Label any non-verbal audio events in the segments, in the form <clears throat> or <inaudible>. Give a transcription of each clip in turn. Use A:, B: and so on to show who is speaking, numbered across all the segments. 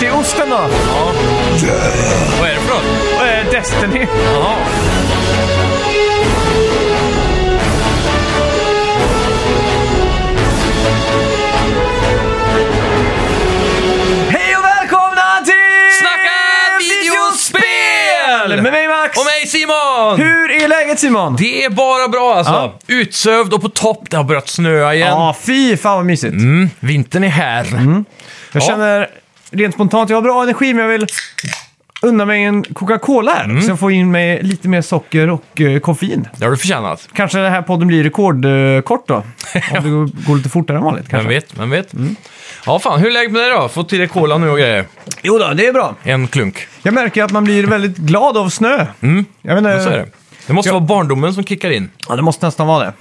A: då? Ja. Vad är det för något?
B: Eh, Destiny.
A: Jaha.
B: Hej och välkomna till
A: Snacka videospel!
B: Med mig Max!
A: Och mig Simon!
B: Hur är läget Simon?
A: Det är bara bra alltså.
B: Ja.
A: Utsövd och på topp. Det har börjat snöa igen.
B: Ja, Mm. fy fan vad mysigt.
A: Mm, vintern är här.
B: Jag
A: Ja.
B: känner rent spontant, jag har bra energi men jag vill unna mig en Coca-Cola här.
A: Mm.
B: Så jag får in mig lite mer socker och eh, koffein.
A: Det har du förtjänat.
B: Kanske den här podden blir rekordkort
A: <laughs>
B: då. Om det går- går lite fortare än vanligt
A: Vem
B: kanske. Mm.
A: vet, vem vet. Ja, fan. Hur är läget med dig då? Fått till dig cola nu och grejer.
B: Jo då, det är bra.
A: En klunk.
B: Jag märker att man blir väldigt glad av snö. Jag vet
A: Mm. Så är
B: inte,
A: det. Det måste
B: Eh, Ja.
A: vara barndomen som kickar in.
B: ja, det måste nästan vara det.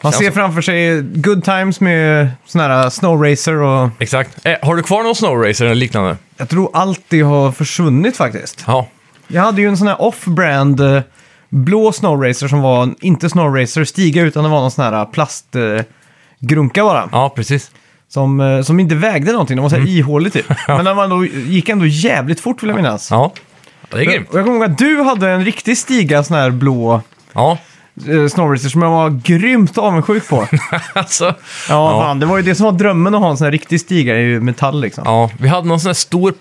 B: Man
A: Känns
B: ser
A: så.
B: framför sig good times med sån här snowracer och
A: Exakt. Eh, har du kvar någon snowracer eller liknande?
B: jag tror allt det har försvunnit faktiskt.
A: Ja.
B: Jag hade ju en sån här off-brand eh, blå snowracer som var inte snowracer stiga utan det var någon sån här eh, plastgrunka bara.
A: Ja, precis.
B: Som, eh, som inte vägde någonting, den var så
A: Mm.
B: här ihålig
A: <laughs>
B: typ. Men den var ändå, gick ändå jävligt fort vill jag minnas.
A: Ja. Det är grymt.
B: Och jag kommer ihåg att du hade en riktig stiga sån här blå
A: Ja.
B: eh, snowracer som jag var grymt avundsjuk på. ja,
A: <laughs> Alltså.
B: fan, det var ju det som var drömmen att ha en sån här riktig stiga i metall liksom.
A: Ja, vi hade någon sån här stor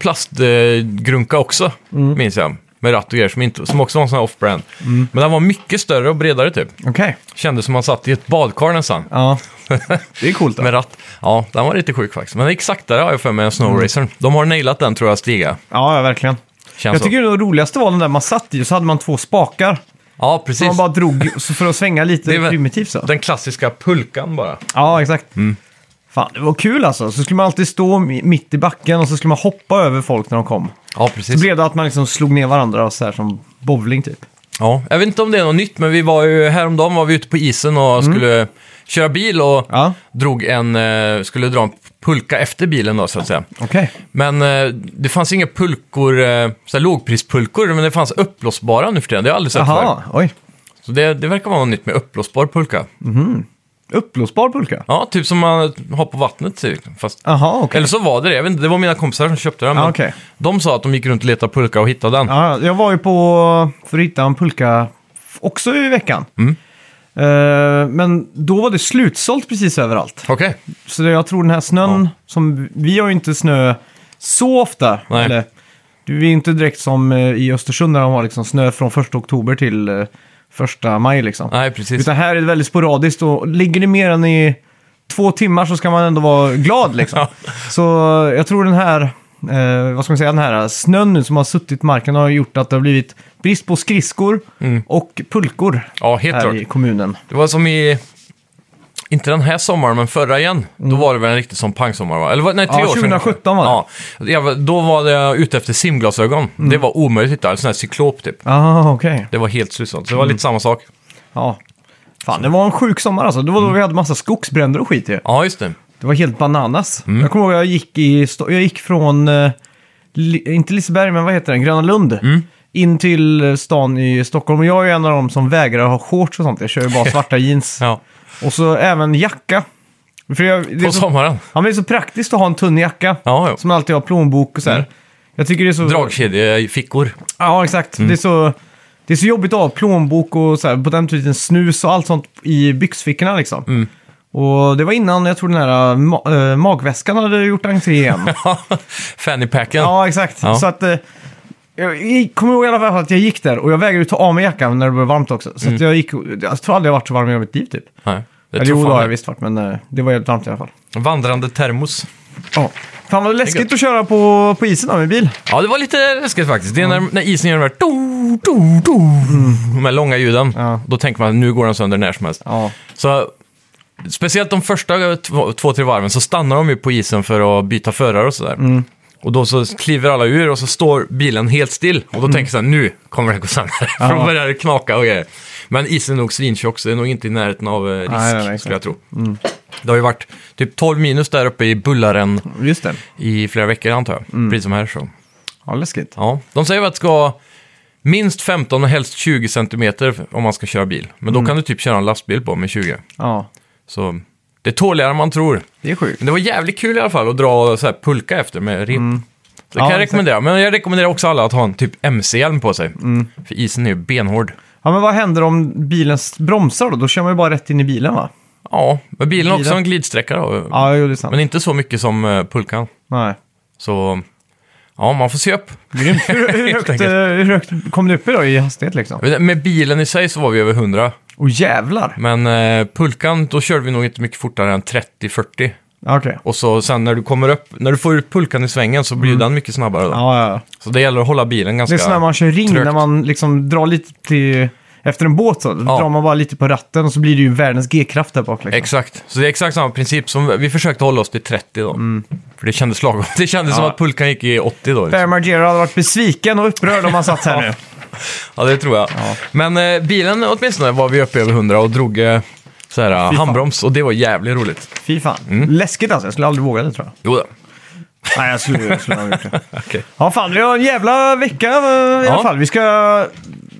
A: plastgrunka också,
B: Mm.
A: minns jag. Med ratt och grejer som, inte, som också var en sån här off-brand. Men den var mycket större och bredare typ.
B: Okej.
A: Kändes som man satt i ett badkar nästan. <laughs>
B: Ja, det är coolt.
A: Med ratt. Ja, den var lite sjuk faktiskt. Men exakt där har jag för mig än Snowracern.
B: Mm.
A: De har nailat den tror jag, Stiga.
B: Ja, ja, verkligen.
A: Känns
B: jag
A: så.
B: tycker det roligaste var den där man satt i och så hade man två spakar.
A: Ja,
B: Så
A: precis.
B: man bara drog så för att svänga lite
A: Det är väl-
B: primitivt så.
A: Den klassiska pulkan bara.
B: Ja, exakt. Fan, det var kul alltså. Så skulle man alltid stå mi- mitt i backen och så skulle man hoppa över folk när de kom.
A: Ja, precis.
B: Så blev det att man liksom slog ner varandra och så här som bowling typ.
A: Ja, jag vet inte om det är något nytt, men vi var ju häromdagen var vi ute på isen och skulle köra bil och
B: Mm. Ja,
A: drog en, eh, skulle dra en pulka efter bilen då så att säga.
B: okej.
A: Men eh, det fanns inga pulkor, eh, såhär lågprispulkor, men det fanns uppblåsbara nu för tiden. Det har jag aldrig sett förr.
B: Jaha, oj.
A: Så det, det verkar vara något nytt med uppblåsbar pulka.
B: Uppblåsbar pulka?
A: Ja, typ som man har på vattnet. typ. Fast,
B: Jaha, okej.
A: Eller så var det det, jag vet inte, det var mina kompisar som köpte den.
B: Ja,
A: men
B: okej. Ah.
A: De sa att de gick runt och letade pulka och hittade den.
B: Ja, jag var ju på, för att hitta en pulka, f- också i veckan. Eh, men då var det slutsålt precis överallt.
A: Okej,
B: Så det- jag tror den här snön, som vi har ju inte snö så ofta.
A: Nej.
B: Eller, du är inte direkt som eh, i Östersund där de har liksom snö från 1 oktober till eh, 1 maj. Liksom.
A: nej precis.
B: Utan här är det väldigt sporadiskt och ligger det mer än i två timmar så ska man ändå vara glad.
A: <laughs>
B: Liksom. Så jag tror den här, eh, vad ska man säga, den här snön nu som har suttit i marken har gjort att det har blivit brist på skridskor och pulkor
A: Ja, helt
B: här
A: Mm. klart.
B: i kommunen.
A: Det var som i, inte den här sommaren, men förra igen. Då var det väl en riktig som pangsommar va? Eller var- nej, tre
B: Mm. Ja,
A: år sedan.
B: 2017 var det. Mm.
A: Ja, jag var- då var jag ute efter simglasögon. Det var omöjligt att hitta, en sån här cyklop typ.
B: Ah, okej.
A: Det var helt slutsålt, så
B: Mm.
A: det var lite samma sak.
B: Ja. Fan, det var en sjuk sommar alltså. Det var då vi hade massa skogsbränder och skit ju.
A: Ja, just det.
B: Det var helt bananas.
A: Mm.
B: Jag kommer ihåg jag gick, i, Sto- jag gick från, eh, Li- inte Liseberg, men vad heter den, Gröna Lund.
A: Mm.
B: In till eh, stan i Stockholm. Och jag är ju en av dem som vägrar ha shorts och sånt. Jag kör ju bara
A: <laughs>
B: svarta jeans.
A: Ja.
B: Och så även jacka. För jag, det, är
A: På
B: så,
A: sommaren.
B: ja, men det är så praktiskt att ha en tunn jacka.
A: Ja, Mm. jo.
B: Som alltid har plånbok och så här. Jag tycker det är så...
A: Dragkedjefickor. <laughs>
B: Ja, exakt.
A: Mm.
B: Det, är så, det är så jobbigt att ha plånbok och så här, på den tiden snus och allt sånt i byxfickorna liksom.
A: Mm.
B: Och det var innan jag tror den här ma- äh, magväskan hade gjort entré
A: <laughs>
B: igen.
A: Fannypacken. Ja.
B: ja, exakt.
A: Ja.
B: Så att... eh, Jag jag kommer ihåg i alla fall att jag gick där och jag vägrade ju ta av mig jackan när det blev varmt också. Så att jag gick... och- Jag tror aldrig jag varit så varm i hela mitt liv typ.
A: Nej, det
B: Eller jo, det
A: Mm. tror
B: har jag
A: fan det.
B: visst varit, men eh, det var jävligt varmt i alla fall.
A: Vandrande termos.
B: Ja. Fan vad
A: Det är
B: läskigt
A: gött.
B: att köra på, på isen då, med bil.
A: Ja, det var lite läskigt faktiskt. Det är när, när isen gör de här do, do, do, de här långa ljuden.
B: Ja.
A: Då tänker man att nu går den sönder när som helst.
B: Ja.
A: Så, speciellt de första två, två, tre varven så stannar de ju på isen för att byta förare och sådär.
B: Mm.
A: Och då så kliver alla ur och så står bilen helt still. Och då
B: Mm.
A: tänker jag så här, nu kommer det gå sönder. för <laughs> då börjar det knaka och grejer. Men isen är nog svintjock så det är nog inte i närheten av eh, risk,
B: nej, Mm. nej,
A: skulle jag tro. Det har ju varit typ 12 minus där uppe i Bullaren
B: Just det.
A: i flera veckor antar jag.
B: Mm.
A: Precis som här så.
B: Ja, läskigt.
A: Ja. De säger väl att det ska minst 15 och helst 20 centimeter om man ska köra bil. Men
B: Mm.
A: då kan du typ köra en lastbil på med 20.
B: Ja.
A: Så det är tåligare än man tror.
B: Det är sjukt.
A: Men det var jävligt kul i alla fall att dra så här pulka efter med rep. Så det kan
B: Mm. Ja,
A: jag
B: exakt.
A: rekommendera. Men jag rekommenderar också alla att ha en typ MC-hjälm på sig.
B: Mm.
A: För isen är ju benhård.
B: Ja, men vad händer om bilen s- bromsar då? Då kör man ju bara rätt in i bilen va?
A: Ja, men bilen har också
B: Bilen.
A: en glidsträcka då.
B: Ja, jo, det är sant.
A: Men inte så mycket som eh, pulkan.
B: Nej.
A: Så ja, man får se upp.
B: Hur, hur,
A: <laughs> Helt
B: högt,
A: enkelt.
B: eh, hur högt kom du upp i då i hastighet liksom?
A: Jag vet inte, Med bilen i sig så var vi över 100.
B: Och jävlar!
A: Men eh, pulkan, då körde vi nog inte mycket fortare än 30-40.
B: Ja, Okej.
A: Och så sen när du kommer upp, när du får ut pulkan i svängen så blir den mycket snabbare då.
B: Mm. Ja, ja, ja.
A: Så det gäller att hålla bilen
B: Det
A: ganska...
B: är som när man kör ring,
A: trögt.
B: när man liksom drar lite till, efter en båt så. Då
A: Ja.
B: drar man bara lite på ratten och så blir det ju världens G-kraft där bak liksom.
A: Exakt, så det är exakt samma princip som vi försökte hålla oss till 30 då.
B: Mm.
A: För det kändes lagom. <laughs> Det kändes som att pulkan gick i 80 då.
B: Per
A: Liksom.
B: Margera hade varit besviken och upprörd om han satt här nu.
A: Ja, det tror jag. Men eh, bilen åtminstone var vi uppe över 100 och drog eh, så här, eh,
B: fan.
A: handbroms och det var jävligt roligt.
B: Fy fan.
A: Mm.
B: Läskigt alltså, jag skulle aldrig våga det tror jag.
A: Jo då.
B: Nej, jag skulle, jag skulle ha gjort det.
A: <laughs> Okej.
B: Ja, fan, vi har en jävla vecka eh, i alla fall. Vi ska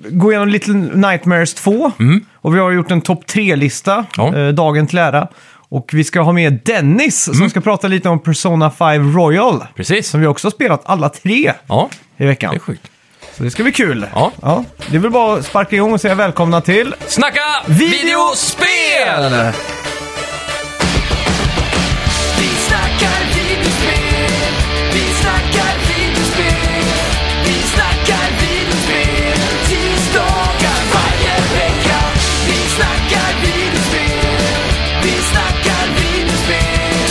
B: gå igenom Little Nightmares 2. Och vi har gjort en topp 3-lista,
A: Mm. Ja.
B: eh, dagen till ära. Och vi ska ha med Dennis
A: Mm.
B: som ska prata lite om Persona 5 Royal.
A: Precis.
B: Som vi också har spelat alla tre
A: Ja,
B: i
A: det
B: veckan.
A: är sjukt.
B: Så det ska bli kul.
A: Ja.
B: det är väl bara att sparka igång och säga välkomna till...
A: Snacka videospel!
B: Videospel!
C: Vi snackar videospel, vi snackar videospel, vi snackar videospel, tisdagar varje vecka. Vi snackar videospel, vi snackar videospel,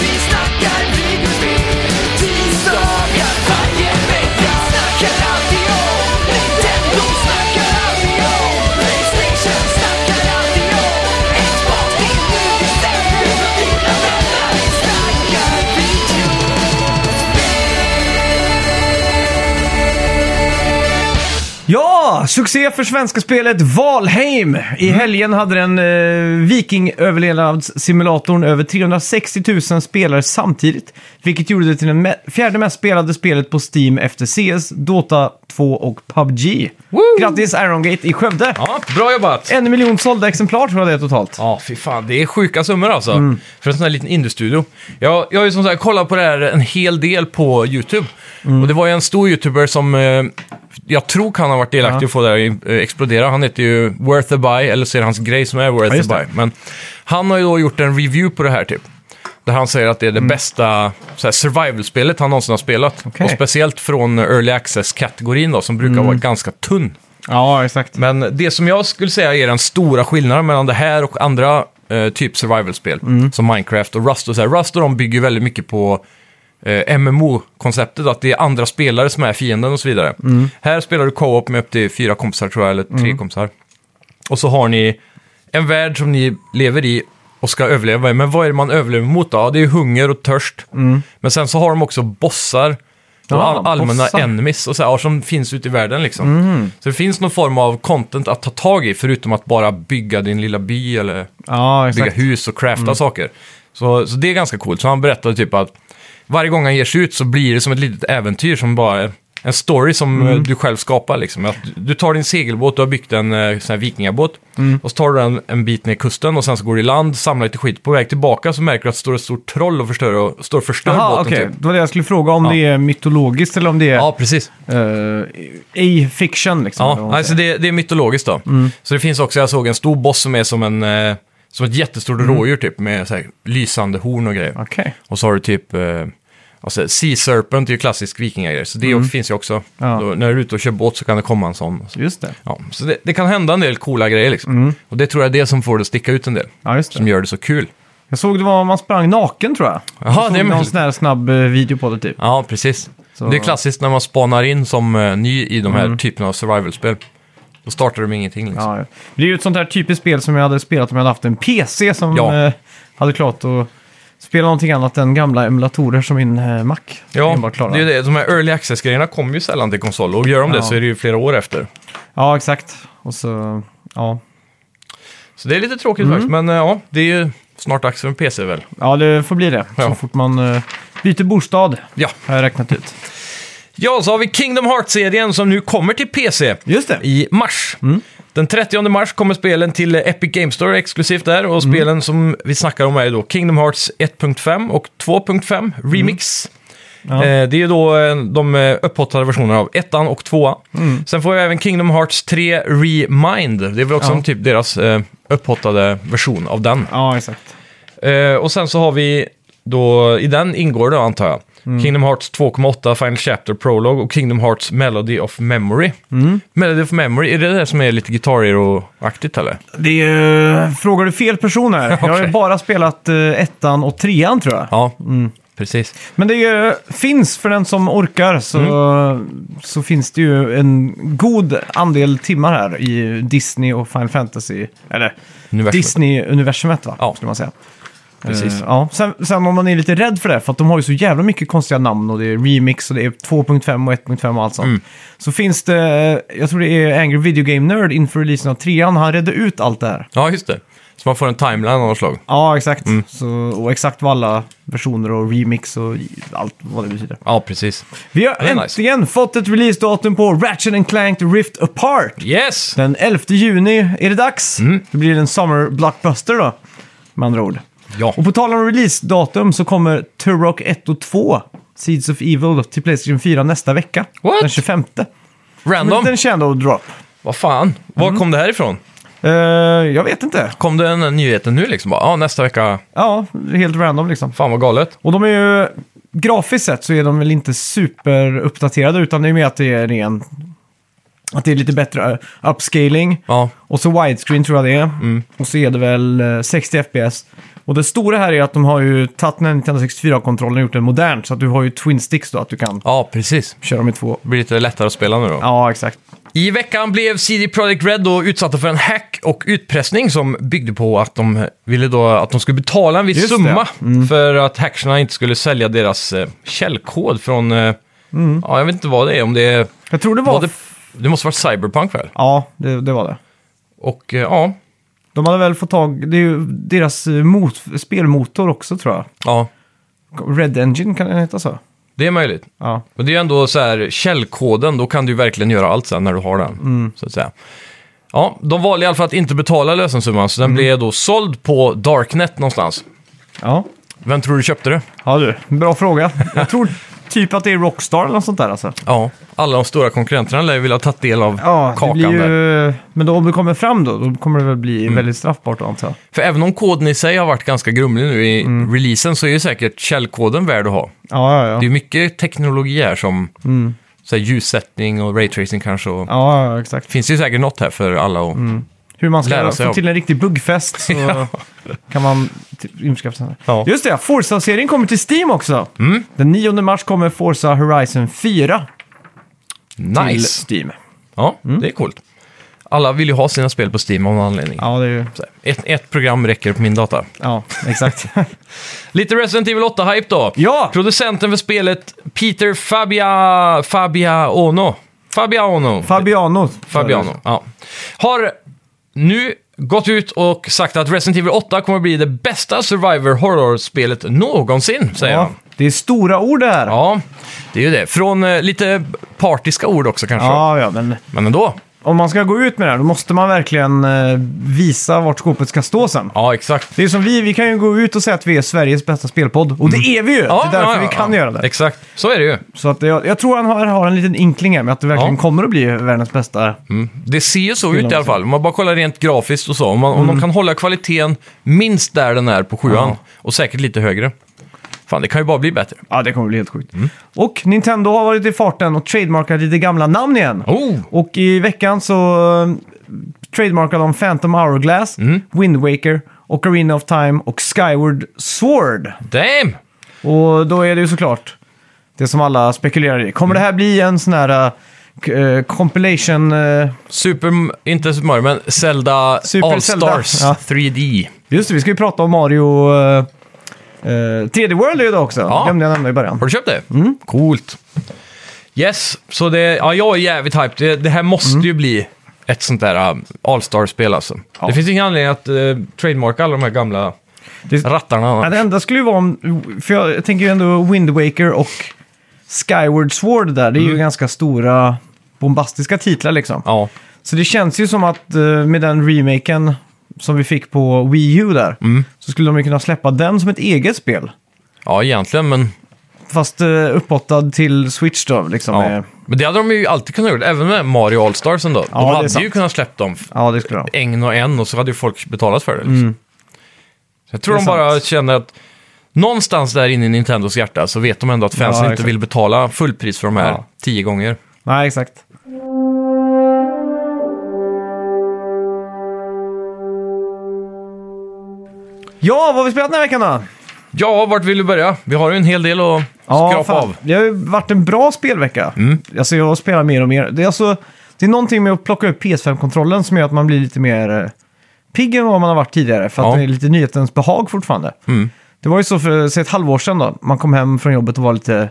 C: vi snackar videospel, tisdagar varje vecka. Snackar alltid om Nintendo, snackar alltid om Playstation, snackar alltid om Xbox, det är nu vi sätter för dina vänner. Vi snackar video.
B: Ja, succé för svenska spelet Valheim. I
A: Mm.
B: helgen hade den eh, vikingöverlevnadssimulatorn över 360 000 spelare samtidigt, vilket gjorde det till det me- fjärde mest spelade spelet på Steam efter CS, Dota 2 och PubG. Grattis Irongate i Skövde!
A: Ja, bra jobbat!
B: En miljon sålda exemplar tror jag det är totalt.
A: Ja, fy fan. Det är sjuka summor alltså.
B: Mm.
A: För en sån här liten indiestudio. Jag, jag har ju som sagt kollat på det här en hel del på YouTube.
B: Mm.
A: Och det var ju en stor YouTuber som eh, jag tror kan ha varit delaktig i att få det här eh, explodera. Han heter ju Worth a Buy, eller så är det hans grej som är Worth
B: Ja,
A: a
B: just det.
A: Buy. Men han har ju då gjort en review på det här typ. Där han säger att det är det bästa så här, survival-spelet han någonsin har spelat.
B: Mm. Okej. Mm.
A: Och speciellt från early access-kategorin då, som brukar vara ganska tunn.
B: Ja, exakt.
A: Men det som jag skulle säga är den stora skillnaden mellan det här och andra eh, typ survival-spel. Som Minecraft och Rust och så här. Rust och de bygger väldigt mycket på eh, MMO-konceptet. Att det är andra spelare som är fienden och så vidare. Här spelar du co-op med upp till fyra kompisar tror jag, eller tre kompisar. Och så har ni en värld som ni lever i och ska överleva i. Men vad är det man överlever mot då? Ja, det är hunger och törst. Men sen så har de också bossar. Och
B: Mm. Ja,
A: all- allmänna
B: bossar. Mhm.
A: enemies och så här, ja, som finns ute i världen liksom. Så det finns någon form av content att ta tag i förutom att bara bygga din lilla by eller
B: Ja,
A: bygga
B: exakt. Mm.
A: hus och crafta saker. Så, så det är ganska coolt. Så han berättade typ att varje gång han ger sig ut så blir det som ett litet äventyr som bara en story som eh,
B: Mm.
A: du själv skapar. Liksom. Att du- du tar din segelbåt, du har byggt en eh, sån här vikingabåt
B: Mm.
A: och så tar du den en bit ner kusten och sen så går du i land, samlar lite skit. På väg tillbaka så märker du att det står ett stort troll och, förstör och står och förstör
B: Jaha,
A: båten.
B: okej.
A: Typ.
B: Det var det jag skulle fråga, om det är mytologiskt eller om det är
A: Ja, precis.
B: eh, A-fiction liksom. eller vad
A: Ja,
B: man
A: alltså
B: säger.
A: det, det är mytologiskt då.
B: Mm.
A: Så det finns också, jag såg en stor boss som är som en... Eh, som ett jättestort rådjur typ, med så här, lysande horn och grejer.
B: Mm. Okej.
A: Och så har du typ... Eh, alltså, sea serpent är ju klassisk vikingagrej, så det finns ju också.
B: Mm. Ja.
A: Då, när du är ute och kör båt så kan det komma en sån.
B: Just det.
A: Ja, så det, det kan hända en del coola grejer liksom. Och det tror jag är det som får det att sticka ut en del.
B: Ja, just det.
A: Som gör det så kul.
B: Jag såg det var man sprang naken tror jag.
A: Jaha,
B: jag såg
A: det är
B: någon
A: möjligt.
B: sån här snabb eh, video på det typ.
A: Ja, precis.
B: Så- Mm.
A: Det är klassiskt när man spanar in som eh, ny i de här typerna av survival-spel. Då startar du med ingenting liksom.
B: Ja, ja. det är ju ett sånt här typiskt spel som jag hade spelat om jag hade haft en PC som
A: Ja.
B: eh, hade klarat att spela någonting annat än gamla emulatorer som min eh, Mac
A: Ja,
B: enbart klarar.
A: det är ju det. De här early access-grejerna kommer ju sällan till konsol och gör de
B: Ja.
A: det så är det ju flera år efter.
B: Ja, exakt. Och så, ja.
A: Så det är lite tråkigt
B: Mm.
A: faktiskt, men eh, ja, det är ju snart dags för en PC väl?
B: ja, det får bli det. Så
A: Ja.
B: fort man eh, byter bostad
A: Ja.
B: har jag räknat ut.
A: Ja, så har vi Kingdom Hearts-serien som nu kommer till PC
B: Just det. Mm.
A: i mars. Den 30 mars kommer spelen till eh, Epic Game Store exklusivt där och
B: Mm.
A: spelen som vi snackar om är då Kingdom Hearts 1.5 och 2.5 Remix.
B: Mm. Ja.
A: Eh, det är ju då eh, de eh, upphottade versionerna av ettan och tvåan.
B: Mm.
A: Sen får jag även Kingdom Hearts 3 Remind. Det är väl också
B: Ja.
A: en typ deras eh, upphottade version av den.
B: Ja, exakt.
A: Eh, och sen så har vi då, i den ingår då antar jag, Kingdom Hearts 2.8 Final Chapter Prologue och Kingdom Hearts Melody of Memory. Melody of Memory, är det det som är lite Guitar Hero-aktigt eller?
B: Det är, frågar du fel person
A: <laughs>
B: här. Jag har ju
A: Okej.
B: bara spelat eh, ettan och trean tror jag.
A: Ja, precis.
B: Men det är, ju- finns för den som orkar så,
A: Mm.
B: så finns det ju en god andel timmar här i Disney och Final Fantasy. Eller
A: Universum.
B: Disney-universumet va?
A: Ja.
B: Skulle man säga.
A: Precis.
B: Eh, ja. sen, sen om man är lite rädd för det, för att de har ju så jävla mycket konstiga namn och det är remix och det är 2.5 och 1.5 och allt sånt.
A: Mm.
B: Så finns det, jag tror det är Angry Video Game Nerd inför releasen av trean, han redde ut allt det här.
A: Ja, just det. Så man får en timeline av något slag.
B: Ja, exakt.
A: Mm.
B: Så, och exakt vad alla versioner och remix och allt vad det betyder.
A: Ja, precis.
B: Vi har
A: Det är nice.
B: äntligen fått ett releasedatum på Ratchet and Clank Rift Apart.
A: Yes!
B: Den 11 juni är det dags.
A: Mm.
B: Det blir en summer blockbuster då, med andra ord.
A: Ja.
B: Och på tal om releasedatum så kommer Turok 1 och 2, Seeds of Evil, till Playstation 4 nästa vecka.
A: What?
B: Den 25. En
A: Random.
B: liten shadow drop.
A: Vad fan? Var kom det här ifrån?
B: Eh, jag vet inte.
A: Kom det den här nyheten nu liksom? Bara, Ja, nästa vecka.
B: Ja, helt random liksom.
A: Fan vad galet.
B: Och de är ju, grafiskt sett så är de väl inte superuppdaterade utan det är mer att det är ren, att det är lite bättre eh, upscaling.
A: Ja,
B: Och så widescreen tror jag det är. Och så är det väl eh, 60 FPS. Och det stora här är att de har ju tagit den här Nintendo 64-kontrollen och gjort den modern. Så att du har ju Twin Sticks då, att du kan
A: ja precis.
B: köra med två.
A: Det blir lite lättare att spela nu då.
B: Ja, exakt.
A: I veckan blev CD Projekt Red då utsatta för en hack och utpressning som byggde på att de ville då att de skulle betala en viss
B: Just det. Mm.
A: summa för att hackerna inte skulle sälja deras eh, källkod från... Eh,
B: Mm.
A: Ja, jag vet inte vad det är. Om det är...
B: Jag tror det var...
A: Var det, det måste vara Cyberpunk väl?
B: Ja, det, det var det.
A: Och eh, ja,
B: De hade väl fått tag... Det är ju deras eh, mot, spelmotor också tror jag.
A: ja,
B: Red Engine kan den heta så?
A: det är möjligt.
B: Ja.
A: Men det är ändå så här, källkoden, då kan du ju verkligen göra allt sen när du har den.
B: Mm.
A: Så att säga. Ja, de valde i alla fall att inte betala lösensumman, så den
B: Mm.
A: blev då såld på Darknet någonstans.
B: Ja.
A: Vem tror du köpte det?
B: Ja du, bra fråga. Jag tror typ att det är Rockstar eller något sånt där alltså.
A: Ja, alla de stora konkurrenterna lär ju vilja ha tagit del av
B: Ja, det
A: kakan
B: blir
A: där.
B: ju... Mm. Men då, om det kommer fram då, då kommer det väl bli väldigt straffbart då, antar jag.
A: För även om koden i sig har varit ganska grumlig nu i releasen så är ju säkert källkoden värd att ha.
B: Mm. Ja, ja, ja.
A: Det är ju mycket teknologi här som så här, ljussättning och raytracing kanske. Och...
B: Ja, Mm. ja, exakt.
A: Finns det ju säkert något här för alla och...
B: Hur man ska
A: Lära sig
B: få
A: om.
B: till en riktig buggfest
A: <laughs>
B: så kan man t- införskaffa sig.
A: Ja. Mm.
B: Just det, Forza-serien kommer till Steam också. Den 9 mars kommer Forza Horizon 4
A: Nice!
B: till Mm. Steam.
A: Ja, det är coolt. Alla vill ju ha sina spel på Steam av någon anledning.
B: Ja, det är ju...
A: Så här, Ett, ett program räcker på min data.
B: Ja, exakt. <laughs>
A: Lite Resident Evil 8-hype då.
B: Ja!
A: Producenten för spelet Peter Fabia... Fabia Ono. Fabia Ono.
B: Fabiano.
A: Fabiano, ja. Har nu gått ut och sagt att Resident Evil 8 kommer bli det bästa survivor horror-spelet någonsin, säger
B: Ja,
A: han.
B: det är stora ord det här.
A: Ja, det är ju det. Från eh, lite partiska ord också kanske.
B: ja, ja, men
A: Men ändå.
B: om man ska gå ut med det här då måste man verkligen eh, visa vart skåpet ska stå sen.
A: Ja, exakt.
B: Det är som vi, vi kan ju gå ut och säga att vi är Sveriges bästa spelpodd. Och det är vi ju!
A: Mm. Ja,
B: det är därför
A: ja,
B: vi
A: ja,
B: kan
A: ja.
B: göra det.
A: Exakt, så är det ju.
B: Så att jag, jag tror han har, har en liten inkling här med att det verkligen
A: Ja. Mm.
B: kommer att bli världens bästa.
A: Det ser ju så ut i alla
B: också. Mm.
A: fall. Om man bara kollar rent grafiskt och så. Om, man, om de kan hålla kvaliteten minst där den är på sjuan
B: Ja.
A: och säkert lite högre. Fan, det kan ju bara bli bättre.
B: Ja, det kommer att bli helt sjukt.
A: Mm.
B: Och Nintendo har varit i farten och trademarkat lite gamla namn igen.
A: Oh!
B: Och i veckan så eh, trademarkade de Phantom Hourglass,
A: Mm.
B: Wind Waker, Ocarina of Time och Skyward Sword.
A: Damn!
B: Och då är det ju såklart det som alla spekulerar i.
A: Mm.
B: Kommer det här bli en sån här eh, k- eh, compilation... eh,
A: Super, inte Super Mario, men Zelda
B: Super
A: All
B: Zelda,
A: Stars
B: ja.
A: 3D.
B: Just det, vi ska ju prata om Mario... Uh, 3D World är ju idag också.
A: Ja.
B: glömde jag nämna i början.
A: Har du köpt det?
B: Mm.
A: Coolt. Yes, så det, ja, jag är jävligt hyped. Det, det här måste
B: Mm.
A: ju bli ett sånt där um, All Star-spel alltså. Det finns ingen anledning att uh, trademarka alla de här gamla
B: Det-
A: rattarna.
B: Ja, det enda skulle ju vara om... För jag tänker ju ändå Wind Waker och Skyward Sword där. Det är ju ganska stora bombastiska titlar liksom.
A: Ja,
B: Så det känns ju som att eh, med den remaken som vi fick på Wii U där. Så skulle de ju kunna släppa den som ett eget spel.
A: ja, egentligen, men
B: fast eh, uppåttad till Switch då. Liksom.
A: Ja.
B: Ja.
A: Men det hade de ju alltid kunnat göra, även med Mario All-Stars ändå.
B: Ja,
A: de
B: det är
A: hade ju
B: sant.
A: kunnat släppt dem
B: ja, det skulle de.
A: en och en och så hade ju folk betalat för det. Liksom. Så jag tror
B: Mm. Det är
A: de bara
B: sant.
A: känner att någonstans där inne i Nintendos hjärta så vet de ändå att fansen
B: Ja,
A: inte
B: exakt.
A: vill betala fullpris för de här
B: Ja.
A: tio gånger.
B: Nej, exakt. Ja, vad har vi spelat den här veckan då?
A: Ja, vart vill du börja? Vi har ju en hel del att skrapa
B: fan.
A: av. Mm.
B: Det har ju varit en bra spelvecka. Alltså jag spelar mer och mer. Det är, alltså, det är någonting med att plocka upp PS5-kontrollen som gör att man blir lite mer eh, pigg än vad man har varit tidigare. För att
A: Ja. Mm.
B: det är lite nyhetens behag fortfarande. Det var ju så för säg ett halvår sedan då. Man kom hem från jobbet och var lite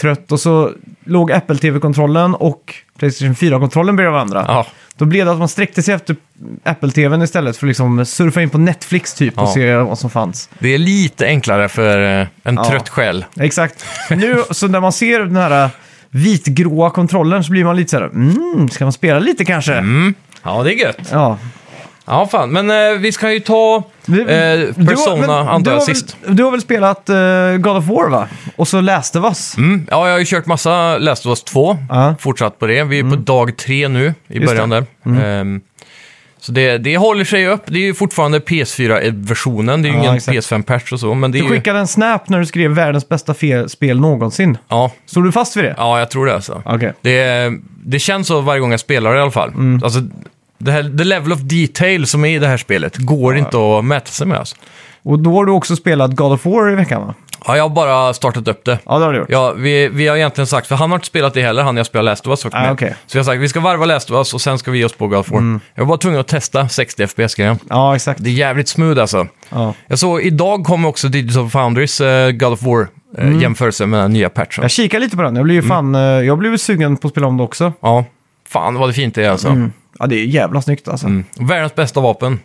B: trött. Och så låg Apple TV-kontrollen och Playstation 4-kontrollen bredvid varandra.
A: Ja,
B: Då blev det att man sträckte sig efter Apple TVn istället för att liksom surfa in på Netflix typ och
A: Ja.
B: se vad som fanns.
A: det är lite enklare för eh, en
B: Ja.
A: trött själ.
B: Exakt. Nu, så när man ser den här äh, vitgråa kontrollen så blir man lite så här, mm, ska man spela lite kanske?
A: Mm. Ja, det är gött.
B: Ja.
A: Ja, fan. Men eh, vi ska ju ta
B: Du-
A: eh,
B: du har-
A: Persona,
B: men du
A: antar jag,
B: har väl-
A: sist.
B: Du har väl spelat eh, God of War va? Och så läste vas.
A: Mm. Ja, jag har ju kört massa Last of Us 2.
B: Ja. Mm.
A: Fortsatt på det. Vi är på dag tre nu i
B: Just Mm.
A: början där. Ehm, så det, det håller sig upp. Det är ju fortfarande PS4-versionen. Det är ju
B: Ja,
A: ingen
B: exakt.
A: PS5-patch och så. Men det är
B: Du
A: ju...
B: skickade en snap när du skrev världens bästa fe- spel någonsin.
A: Ja,
B: Står du fast vid det?
A: ja, jag tror det alltså.
B: Okej.
A: Det, det känns så varje gång jag spelar i alla fall.
B: Mm.
A: Alltså, det här, the level of detail som är i det här spelet går inte att mäta sig med. Alltså.
B: Och då har du också spelat God of War i veckan va?
A: Ja, jag har bara startat upp det.
B: Ja, det har du gjort.
A: Ja, vi, vi har egentligen sagt, för han har inte spelat det heller, han jag spelar Last of Us också
B: Ah,
A: med.
B: okej. Mm.
A: Så vi har sagt, vi ska varva Last of Us och sen ska vi ge oss på God of War. Jag var bara tvungen att testa 60 FPS-grejen.
B: Ja, exakt.
A: Det är jävligt smooth alltså.
B: Ja.
A: Jag såg, idag kom också Digital Foundries eh, God of
B: Mm.
A: War-jämförelse med den nya patchen.
B: Jag kikar lite på den. Jag blev ju
A: Mm.
B: fan, eh, jag blev ju sugen på att spela om det också. Mm.
A: Ja, fan vad det fint det är alltså.
B: Ja, det är jävla snyggt alltså.
A: Mm. Världens bästa vapen.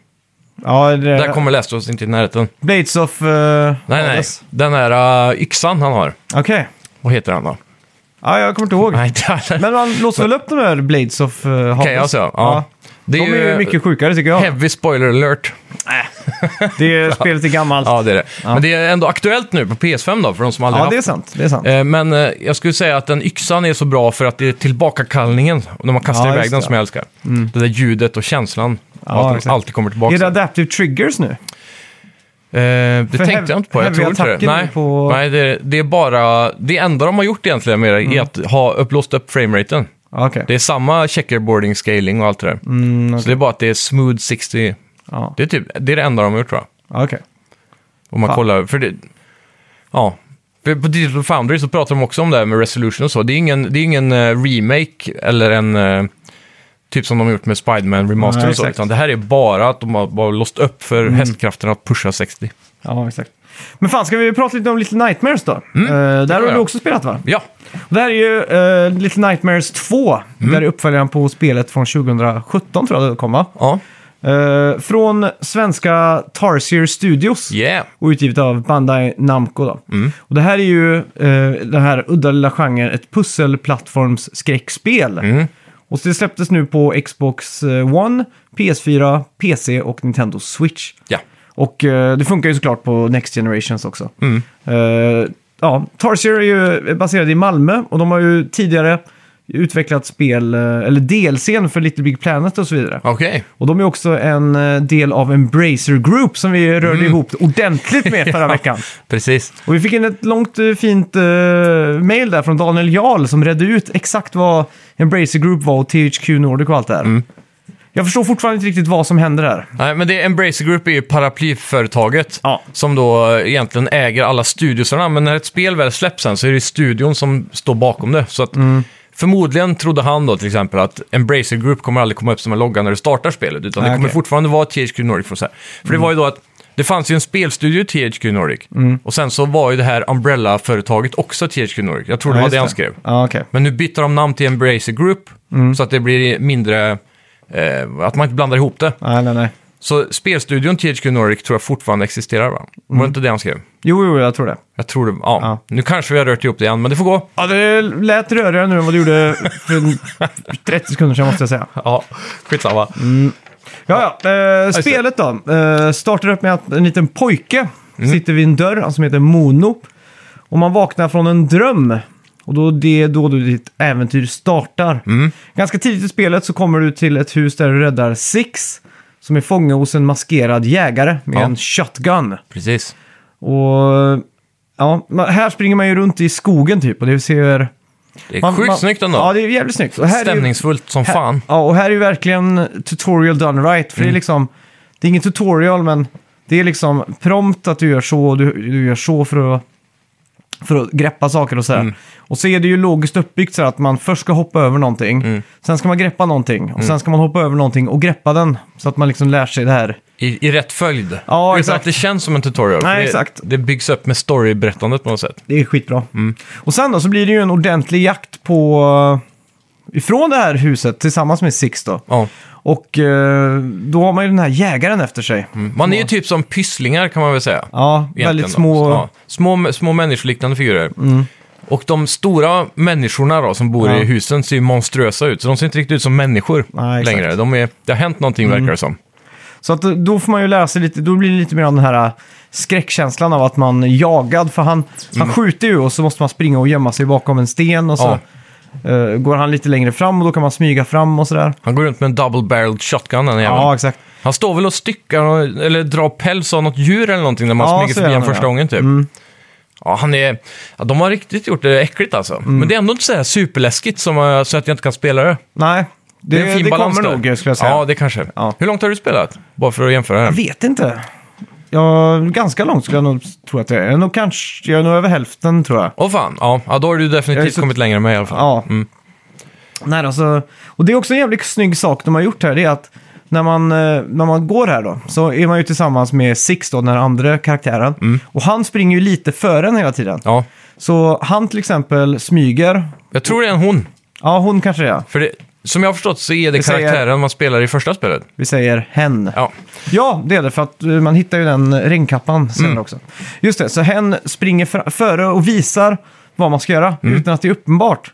B: Ja, det...
A: Där kommer Last of Us inte i närheten.
B: Blades of... eh,
A: Nej, nej.
B: Hades.
A: Den här eh, yxan han har.
B: Okej.
A: Vad heter han då?
B: Ja, jag kommer inte ihåg.
A: Nej, det
B: Men man låser väl upp de här Blades of uh, Hades?
A: kan jag säga. Ja. Det
B: De är ju mycket sjukare tycker jag.
A: heavy spoiler alert.
B: Det är, spelet är gammalt. Ja,
A: Ja, det är det. Men det är ändå aktuellt nu på PS5 då, för de som aldrig haft
B: det är sant. Det är sant.
A: Eh, Men eh, jag skulle säga att den yxan är så bra för att det är tillbakakallningen, när man kastar
B: Ja, just
A: iväg den
B: det. Mm.
A: som jag älskar. Det där ljudet och känslan.
B: Ja,
A: att de
B: exakt.
A: alltid kommer
B: är det
A: tillbaka. Det,
B: adaptive triggers nu?
A: eh, det
B: För
A: tänkte
B: hev-
A: jag inte på, jag
B: heavy
A: tror inte det.
B: attacker
A: Nej,
B: på-
A: Nej det, det är bara... Det enda de har gjort egentligen med det
B: Mm.
A: är att ha upplåst upp frameraten.
B: Ja, Okej.
A: Det är samma checkerboarding, scaling och allt det där.
B: Mm,
A: Så det är bara att det är smooth 60.
B: Ja,
A: Det är, typ, det är det enda de har gjort tror jag.
B: Ja, okej.
A: Om man
B: Fan.
A: kollar, för det... Ja. För På Digital Foundry så pratar de också om det här med resolution och så. Det är ingen, det är ingen eh, remake eller en... eh, typ som de har gjort med Spiderman Remaster
B: Nej,
A: och så.
B: exakt. Mm.
A: Utan det här är bara att de har bara låst upp för hästkrafterna att pusha 60.
B: Ja, exakt. Men fan, ska vi prata lite om Little Nightmares då?
A: Mm,
B: Eh, där har
A: jag.
B: du också spelat va?
A: Ja,
B: Det här är ju eh, Little Nightmares 2.
A: Mm.
B: Där är uppföljaren på spelet från 2017 tror jag det kom va?
A: ja,
B: Eh, från svenska Tarsier Studios.
A: yeah.
B: och utgivet av Bandai Namco. Då.
A: Mm.
B: Och det här är ju eh, den här udda lilla genren, ett pusselplattformsskräckspel.
A: Mm.
B: Och det släpptes nu på Xbox eh, One, PS4, PC och Nintendo Switch.
A: Ja.
B: Och eh, det funkar ju såklart på Next Generations också.
A: Mm.
B: Eh, ja, Tarsier är ju baserad i Malmö och de har ju tidigare utvecklat spel, eh, eller delscen för Little Big Planet och så vidare.
A: Okej.
B: Och de är också en eh, del av Embracer Group som vi rörde
A: Mm.
B: ihop ordentligt med
A: <laughs>
B: förra veckan.
A: Precis.
B: Och vi fick in ett långt eh, fint eh, mail där från Daniel Jarl som redde ut exakt vad Embracer Group var och THQ Nordic och allt det här. Jag förstår fortfarande inte riktigt vad som händer där.
A: Nej, men Mm. det Embracer Group är ju paraplyföretaget
B: Ja.
A: som då eh, egentligen äger alla studiosarna. Men när ett spel väl släpps sen så är det studion som står bakom det. Så att
B: Mm.
A: förmodligen trodde han då till exempel att Embracer Group kommer aldrig komma upp som en logga när du startar spelet. Utan
B: Nej,
A: det kommer
B: okej. Mm.
A: fortfarande vara THQ Nordic. För, så här. för det var ju då att det fanns ju en spelstudio i THQ Nordic. Och sen så var ju det här Umbrella-företaget också THQ Nordic. Jag tror det var
B: just
A: det han skrev.
B: Ja, Mm. okej.
A: Men nu byter de namn till Embracer Group så att det blir mindre... Eh, att man inte blandar ihop det.
B: Nej, nej, nej.
A: Så spelstudion THQ Nordic tror jag fortfarande existerar va? Var det inte det han skrev?
B: Jo, jo, jag tror det.
A: Jag tror det, ja.
B: Mm. Ja.
A: Nu kanske vi har rört ihop det igen, men det får gå.
B: Ja, det lät rörigare nu än vad det gjorde
A: <laughs>
B: för 30 sekunder sedan måste jag säga.
A: Ja, skitsamma.
B: Ja, ja. Eh,
A: det.
B: spelet
A: Mm.
B: då. Eh, startar upp med att en liten pojke sitter vid en dörr, han som heter Mono. Och man vaknar från en dröm. Och då det är då du ditt äventyr startar.
A: Mm.
B: Ganska tidigt i spelet så kommer du till ett hus där du räddar Six. Som är fånge hos en maskerad jägare med
A: Ja.
B: en shotgun.
A: Precis.
B: Och ja, man- här springer man ju runt i skogen typ. Och det ser...
A: Det är sjukt snyggt ändå.
B: Ja, det är jävligt snyggt. Och här är ju-
A: Stämningsfullt som
B: här,
A: fan. Mm.
B: Ja, och här är ju verkligen tutorial done right. För det är liksom, det är ingen tutorial men det är liksom prompt att du gör så och du, du gör så för att, för att greppa saker och sådär.
A: Mm.
B: Och så är det ju logiskt uppbyggt så här att man först ska hoppa över någonting,
A: Mm.
B: sen ska man greppa någonting och sen ska man hoppa över någonting och greppa den. Så att man liksom lär sig det här.
A: I, I rätt följd.
B: Ja,
A: Utan
B: exakt.
A: att det känns som en tutorial.
B: Nej,
A: För det,
B: exakt.
A: Det byggs upp med storyberättandet på något sätt.
B: Det är skitbra.
A: Mm.
B: Och sen då så blir det ju en ordentlig jakt på... eh, Ifrån det här huset tillsammans med Six då.
A: Ja.
B: Och eh, då har man ju den här jägaren efter sig.
A: Man är ju typ som pysslingar kan man väl säga.
B: Ja,
A: Egentligen
B: väldigt
A: då.
B: små. Mm.
A: Ja, små, små människoliknande figurer. Och de stora människorna då, som bor
B: Ja.
A: i husen ser ju monströsa ut. Så de ser inte riktigt ut som människor
B: Nej, exakt. Mm.
A: längre. De är, det har hänt någonting verkar det som.
B: Så att då får man ju lära sig lite, då blir det lite mer av den här äh, skräckkänslan av att man är jagad. För han,
A: Mm.
B: han skjuter ju och så måste man springa och gömma sig bakom en sten och så eh, går han lite längre fram och då kan man smyga fram och sådär.
A: Han går runt med en double-barreled shotgun den jäveln.
B: Ja, exakt.
A: Han står väl och styckar och- eller drar päls av något djur eller någonting när man
B: Ja,
A: smyger
B: så
A: förbi
B: är
A: honom
B: han,
A: första
B: ja. Mm.
A: gången typ. Ja, han är... Ja, de har riktigt gjort det äckligt alltså.
B: Mm.
A: Men det är ändå inte så här superläskigt som, eh, så att jag inte kan spela det.
B: Nej, det,
A: Det är en fin
B: det
A: balans
B: kommer
A: där.
B: nog skulle jag säga.
A: Ja, det kanske.
B: Ja.
A: Hur långt har du spelat? Bara för att jämföra här.
B: Jag vet inte. Ja, ganska långt skulle jag nog tro att jag är. Jag är nog kanske, jag är nog över hälften tror jag.
A: Åh fan, ja. ja, då har du
B: Jag är
A: definitivt
B: så-
A: kommit längre med mig i alla fall.
B: Ja. Nej, alltså, och det är också en jävligt snygg sak de har gjort här. Det är att när man, eh, när man går här då, så är man ju tillsammans med Six då, den här andra karaktären. Och han springer ju lite före en hela tiden.
A: Ja.
B: Så han till exempel smyger.
A: Jag tror det är en hon.
B: Ja, hon kanske det är.
A: För det, som jag har förstått så är det
B: Vi säger-
A: karaktären man spelar i första spelet.
B: Vi säger hen.
A: Ja,
B: Ja, det är det. För att eh, man hittar ju den regnkappan sen
A: Mm.
B: också. Just det, så hen springer fra- före och visar vad man ska göra
A: Mm.
B: utan att det är uppenbart.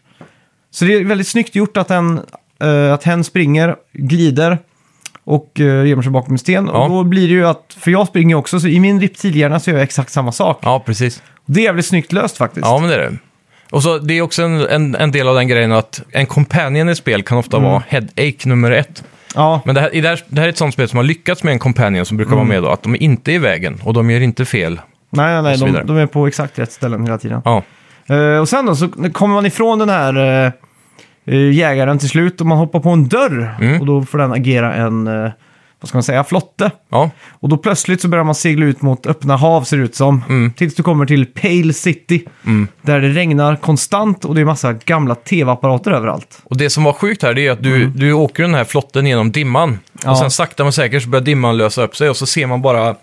B: Så det är väldigt snyggt gjort att hen, eh, att hen springer, glider och uh, gömmer sig bakom en sten.
A: Ja.
B: Och då blir det ju att, för jag springer ju också, så i min reptilhjärna så gör jag exakt samma sak.
A: ja precis.
B: Det är jävligt snyggt löst faktiskt.
A: Ja, men det är det. Och så, det är också en, en, en del av den grejen att en companion i spel kan ofta
B: Mm.
A: vara headache nummer ett.
B: Ja,
A: Men det här, i det, här, det här är ett sånt spel som har lyckats med en companion som brukar
B: Mm.
A: vara med då, att de inte är i vägen och de gör inte fel.
B: nej, nej,
A: och så
B: nej
A: vidare.
B: de, de är på exakt rätt ställen hela tiden.
A: Ja,
B: Eh, och sen då så kommer man ifrån den här eh, eh, jägaren till slut och man hoppar på en dörr. Och då får den agera en, eh, vad ska man säga, flotte.
A: ja.
B: Och då plötsligt så börjar man segla ut mot öppna hav ser det ut som. Tills du kommer till Pale City. Där det regnar konstant och det är massa gamla tv-apparater överallt.
A: Och det som var sjukt här det är att du, du åker den här flotten genom dimman.
B: Mm. Ja.
A: Och sen sakta men säkert så börjar dimman lösa upp sig och så ser man bara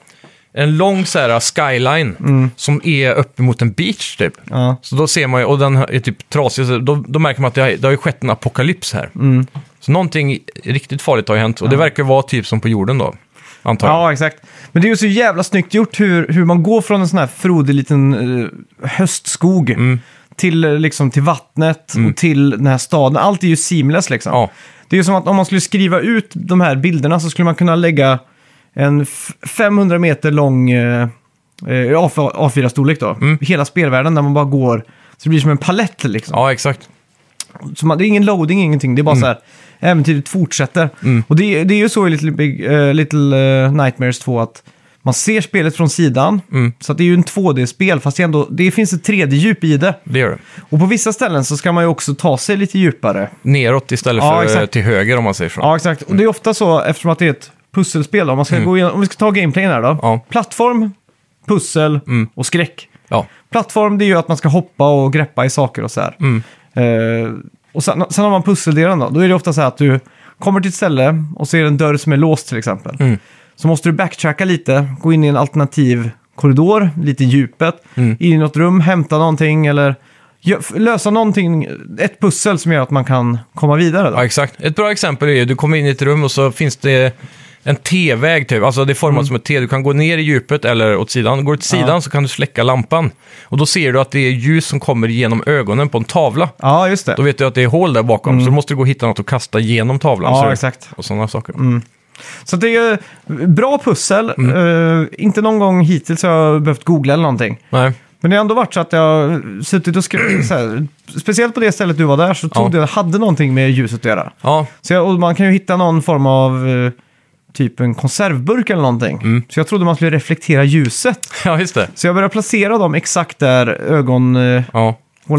A: en lång så här skyline som är uppemot en beach typ.
B: Mm. Ja.
A: Så då ser man ju, och den är typ trasig, så då, då märker man att det har, det har ju skett en apokalyps här.
B: Mm.
A: Så någonting riktigt farligt har ju hänt och det verkar vara typ som på jorden då, antar jag.
B: Ja, exakt. Men det är ju så jävla snyggt gjort hur, hur man går från en sån här frodig liten eh, höstskog till, eh, liksom, till vattnet och till den här staden. Allt är ju seamless liksom.
A: Ja.
B: Det är ju som att om man skulle skriva ut de här bilderna så skulle man kunna lägga en f- 500 meter lång eh, eh, A4- A4-storlek då. Hela spelvärlden där man bara går. Så det blir som en palett liksom.
A: ja, exakt.
B: Så man, det är ingen loading, ingenting. Det är bara så här, äventyret fortsätter. Och det, är- det är ju så i Little, Big, eh, Little eh, Nightmares 2 att man ser spelet från sidan. Så att det är ju en 2D-spel, fast det, är ändå, det finns ett 3D-djup i det.
A: Det gör det.
B: Och på vissa ställen så ska man ju också ta sig lite djupare.
A: Neråt istället
B: Ja,
A: för eh,
B: exakt.
A: till höger om man säger så.
B: Ja, exakt. Och det är ofta så, eftersom att det är ett pusselspel, då, om, man ska gå igenom, om vi ska ta gameplayen här då.
A: Mm. Ja. Mm.
B: Plattform, pussel och skräck.
A: Ja.
B: Plattform, det är ju att man ska hoppa och greppa i saker och så här.
A: Mm.
B: Eh, och sen, sen har man pusseldelen då. Då är det ofta så här att du kommer till ett ställe och ser en dörr som är låst till exempel.
A: Mm.
B: Så måste du backtracka lite, gå in i en alternativ korridor, lite i djupet,
A: Mm.
B: in i något rum, hämta någonting eller gö- f- lösa någonting, ett pussel som gör att man kan komma vidare. Då.
A: Ja, exakt. Ett bra exempel är ju, du kommer in i ett rum och så finns det en T-väg typ. Alltså det är
B: Mm.
A: format som ett T. Du kan gå ner i djupet eller åt sidan. Går du åt sidan så kan du släcka lampan. Och då ser du att det är ljus som kommer genom ögonen på en tavla.
B: Ja, just det.
A: Då vet du att det är hål där bakom, så då måste du gå och hitta något att kasta genom tavlan.
B: Mm. Ja,
A: så-
B: exakt. Mm.
A: Och sådana saker.
B: Så det är Eh, ju bra pussel. Eh, inte någon gång hittills har jag behövt googla eller någonting.
A: Nej.
B: Men det har ändå varit så att jag har suttit och skrivit så här. Speciellt på det stället du var där så trodde
A: Ja.
B: jag hade någonting med ljuset att göra.
A: Ja, <laughs>
B: Så jag, och man kan ju hitta någon form av eh, typ en konservburk eller någonting. Så jag trodde man skulle reflektera ljuset.
A: ja just det.
B: Så jag började placera dem exakt där ögonhålorna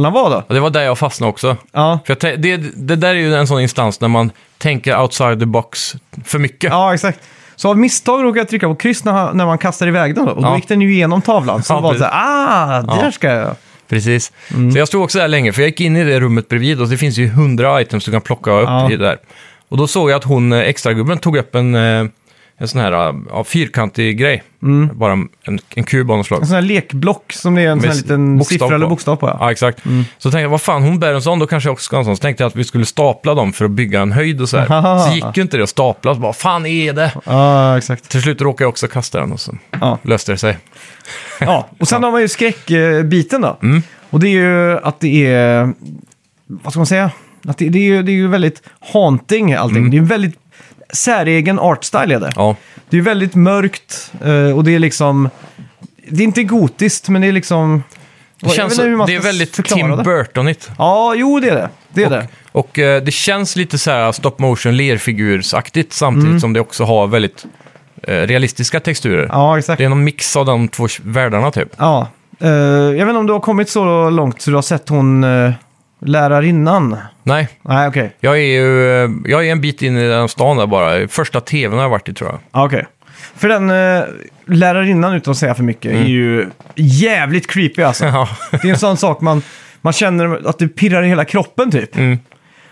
A: Ja.
B: var då.
A: Och det var där jag fastnade också.
B: Ja,
A: För jag tän- det, det där är ju en sån instans när man tänker outside the box för mycket.
B: ja exakt. Så av misstag råkade jag trycka på kryss när, han- när man kastar iväg den då. Och då
A: Ja.
B: gick den ju igenom tavlan. Så
A: Ja,
B: det var det så här, ah,
A: Ja.
B: där ska jag.
A: Precis.
B: Mm.
A: Så jag stod också där länge, för jag gick in i det rummet bredvid och det finns ju hundra items du kan plocka upp
B: Ja.
A: i det där. Och då såg jag att hon, eh, extragubben, tog upp en, eh, en sån här eh, ja, fyrkantig grej. Bara en, en kub av något slag.
B: Mm. En sån här lekblock som det är en sån här
A: Med
B: liten
A: bokstav
B: siffra
A: på.
B: eller bokstav på. Ja. Mm.
A: Ja, exakt. Så tänkte jag, vad fan, hon bär en sån, då kanske jag också ska ha en sån. Så tänkte jag att vi skulle stapla dem för att bygga en
B: <laughs>
A: höjd och så här.
B: Aha.
A: Så gick ju inte det att stapla, så bara, fan är det?
B: Ja, exakt.
A: Till slut råkade jag också kasta den och så
B: Ja.
A: löste det sig.
B: Ja, och sen har man ju skräckbiten då.
A: Mm.
B: Och det är ju att det är, vad ska man säga? Att det, det, är, ju, det är ju väldigt haunting allting.
A: Mm.
B: Det är en väldigt säregen artstyle är det.
A: Ja,
B: Det är väldigt mörkt eh, och det är liksom, det är inte gotiskt men det är liksom...
A: det,
B: jag vet
A: känns,
B: inte hur man
A: det är
B: ska
A: väldigt
B: förklara
A: Tim
B: det.
A: Burtonigt.
B: Ja, jo det är det. Det är det.
A: Och eh, det känns lite så här stop motion lerfigursaktigt samtidigt som det också har väldigt eh, realistiska texturer.
B: Mm. Ja, exakt.
A: Det är någon mix av de två världarna typ.
B: Ja. Eh, jag vet inte om du har kommit så långt så du har sett hon uh, lärarinnan?
A: Nej,
B: Nej, okej.
A: jag är ju eh, jag är en bit in i den stan där bara. Första tvn har jag varit i
B: <laughs>
A: tror jag.
B: Ja, okej. För den eh, lärarinnan, utan att säga för mycket,
A: Mm.
B: är ju jävligt creepy alltså.
A: <laughs> Ja,
B: Det är en sån sak man, man känner att det pirrar i hela kroppen typ.
A: Mm.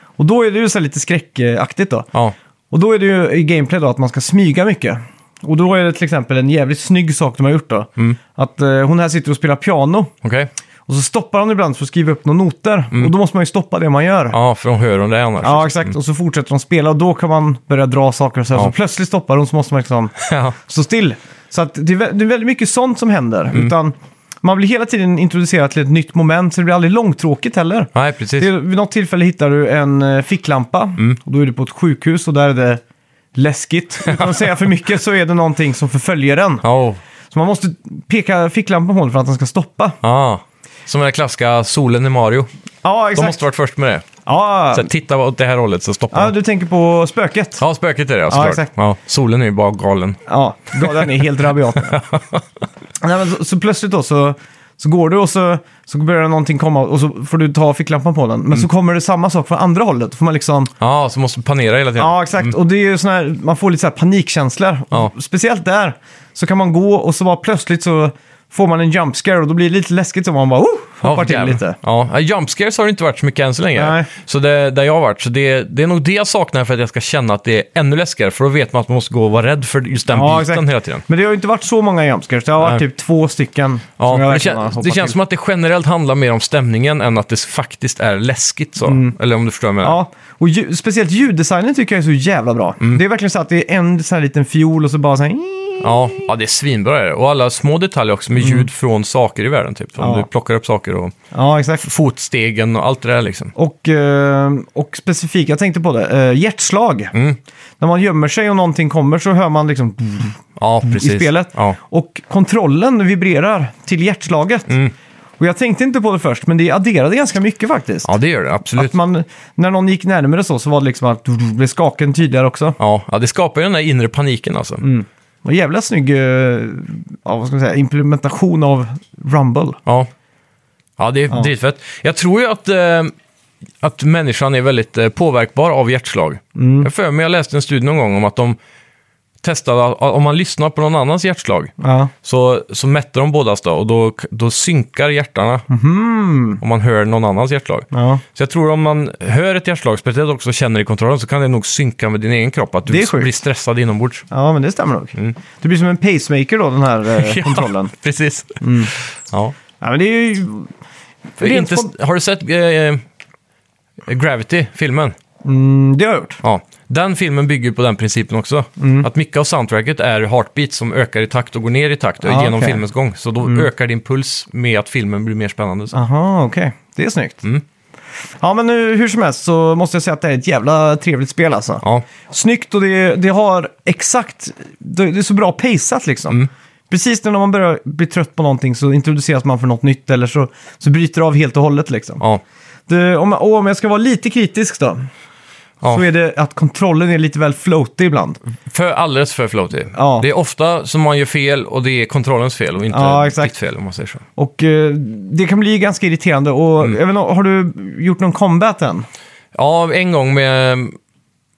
B: Och då är det ju så här lite skräckaktigt då.
A: ja.
B: Och då är det ju i gameplay då att man ska smyga mycket. Och då är det till exempel en jävligt snygg sak de har gjort då.
A: Mm.
B: Att eh, hon här sitter och spelar piano.
A: okej.
B: Och så stoppar hon ibland för att skriva upp några noter. Och då måste man ju stoppa det man gör.
A: Mm. Ja, för de hör om det annars.
B: Ja, exakt. Och så fortsätter de spela och då kan man börja dra saker och så, här.
A: Ja.
B: så plötsligt stoppar hon så måste man liksom
A: <laughs> Ja,
B: stå still. Så att det, är vä- det är väldigt mycket sånt som händer.
A: Mm.
B: Utan man blir hela tiden introducerad till ett nytt moment, så det blir aldrig långtråkigt heller.
A: Nej, precis.
B: Det är, vid något tillfälle hittar du en eh, ficklampa
A: Mm.
B: och då är du på ett sjukhus och där är det
A: <laughs>
B: läskigt. Utan att säga för mycket så är det någonting som förföljer en.
A: Ja,
B: Så man måste peka ficklampan på den för att den ska stoppa.
A: ah. Som den där klassiska solen i Mario.
B: Ja,
A: De
B: exakt.
A: måste varit först med det.
B: ja.
A: Så här, titta åt det här hållet så stoppar
B: ja,
A: de.
B: du tänker på spöket.
A: Ja, spöket är det, ja, såklart.
B: exakt.
A: Ja, solen är ju bara galen.
B: Ja, den är helt rabiat. <laughs> Nej, men så, så plötsligt då så, så går du och så, så börjar någonting komma och så får du ta ficklampan på den. Men
A: Mm.
B: så kommer det samma sak från andra hållet. Får man liksom,
A: Ja, så måste man panera hela tiden.
B: ja exakt. Och det är ju sån här, man får lite så här panikkänslor.
A: Ja.
B: Speciellt där så kan man gå och så bara plötsligt så får man en jump scare och då blir det lite läskigt så man bara oh, hoppar
A: Ja,
B: till
A: jävlar.
B: lite.
A: Ja, Ja, jump scares har det inte varit så mycket än så länge.
B: Nej.
A: Så det, där jag har varit. Så det, det är nog det jag saknar för att jag ska känna att det är ännu läskigare. För då vet man att man måste gå och vara rädd för just den biten hela tiden.
B: Men det har ju inte varit så många jump scares. Det har varit
A: Nej.
B: typ två stycken.
A: Ja,
B: som jag
A: det,
B: verkligen har
A: kän,
B: hoppat
A: det känns
B: till.
A: som att det generellt handlar mer om stämningen än att det faktiskt är läskigt. Så. Eller om du förstår vad jag menar.
B: Mm. Ja, och ju, speciellt ljuddesignen tycker jag är så jävla bra.
A: Mm.
B: Det är verkligen så att det är en sån här liten fiol och så bara så här...
A: Ja. ja, det är svinbra är det. Och alla små detaljer också med ljud från saker i världen. Typ. Om
B: Mm. Ja.
A: du plockar upp saker och
B: Ja, exakt.
A: fotstegen och allt det där liksom.
B: Och, eh, och specifikt, jag tänkte på det, eh, hjärtslag.
A: Mm.
B: När man gömmer sig och någonting kommer så hör man liksom
A: Ja, precis.
B: i spelet.
A: Ja.
B: Och kontrollen vibrerar till hjärtslaget.
A: Mm.
B: Och jag tänkte inte på det först, men det adderade ganska mycket faktiskt.
A: ja, det gör det. Absolut.
B: Att man, när någon gick närmare så, så var det liksom att du blev skaken tydligare också.
A: Ja, ja, det skapar ju den där inre paniken alltså.
B: Mm. Och jävla snygg eh, ja, vad ska man säga, implementation av Rumble.
A: Ja. Ja, det är dritfett. Jag tror ju att, eh, att människan är väldigt eh, påverkbar av hjärtslag.
B: Mm.
A: Jag för mig, jag läste en studie någon gång om att de testade, att- om man lyssnar på någon annans hjärtslag,
B: Ja.
A: så, så mätte de bådas då, och då, då synkar hjärtarna om man hör någon annans hjärtslag.
B: Mhm. Ja.
A: Så jag tror om man hör ett hjärtslag, speciellt också känner i kontrollen, så kan det nog synka med din egen kropp, att du
B: Det är sjukt.
A: blir stressad inombords.
B: ja, men det stämmer nog. Det blir som en pacemaker då, den här eh, kontrollen.
A: Mm. <laughs> Ja, precis. Ja.
B: Ja, men det är ju...
A: För
B: Rent
A: inte,
B: spont-
A: har du sett eh, Gravity, filmen?
B: Mm, det har jag gjort.
A: Ja. Den filmen bygger på den principen också.
B: Mm.
A: Att mycket av soundtracket är heartbeat som ökar i takt och går ner i takt eh,
B: Ah,
A: genom
B: okej. Mm.
A: filmens gång. Så då ökar din puls med att filmen blir mer spännande. Så.
B: Aha, okej. Det är snyggt.
A: Mm.
B: Ja, men nu, hur som helst så måste jag säga att det är ett jävla trevligt spel alltså.
A: Ja. Mm.
B: Snyggt och det, det har exakt... Det, det är så bra paceat liksom. precis när man börjar bli trött på någonting så introduceras man för något nytt eller så, så bryter det av helt och hållet liksom.
A: Ja.
B: Det, om, och om jag ska vara lite kritisk då,
A: Ja.
B: så är det att kontrollen är lite väl floaty ibland.
A: För, alldeles för floaty.
B: Ja.
A: Det är ofta som man gör fel och det är kontrollens fel och inte
B: Ja, Ah, exakt.
A: ditt fel om man säger så.
B: Och eh, det kan bli ganska irriterande. Och
A: Mm.
B: jag vet, inte, har du gjort någon combat än?
A: Ja, en gång med...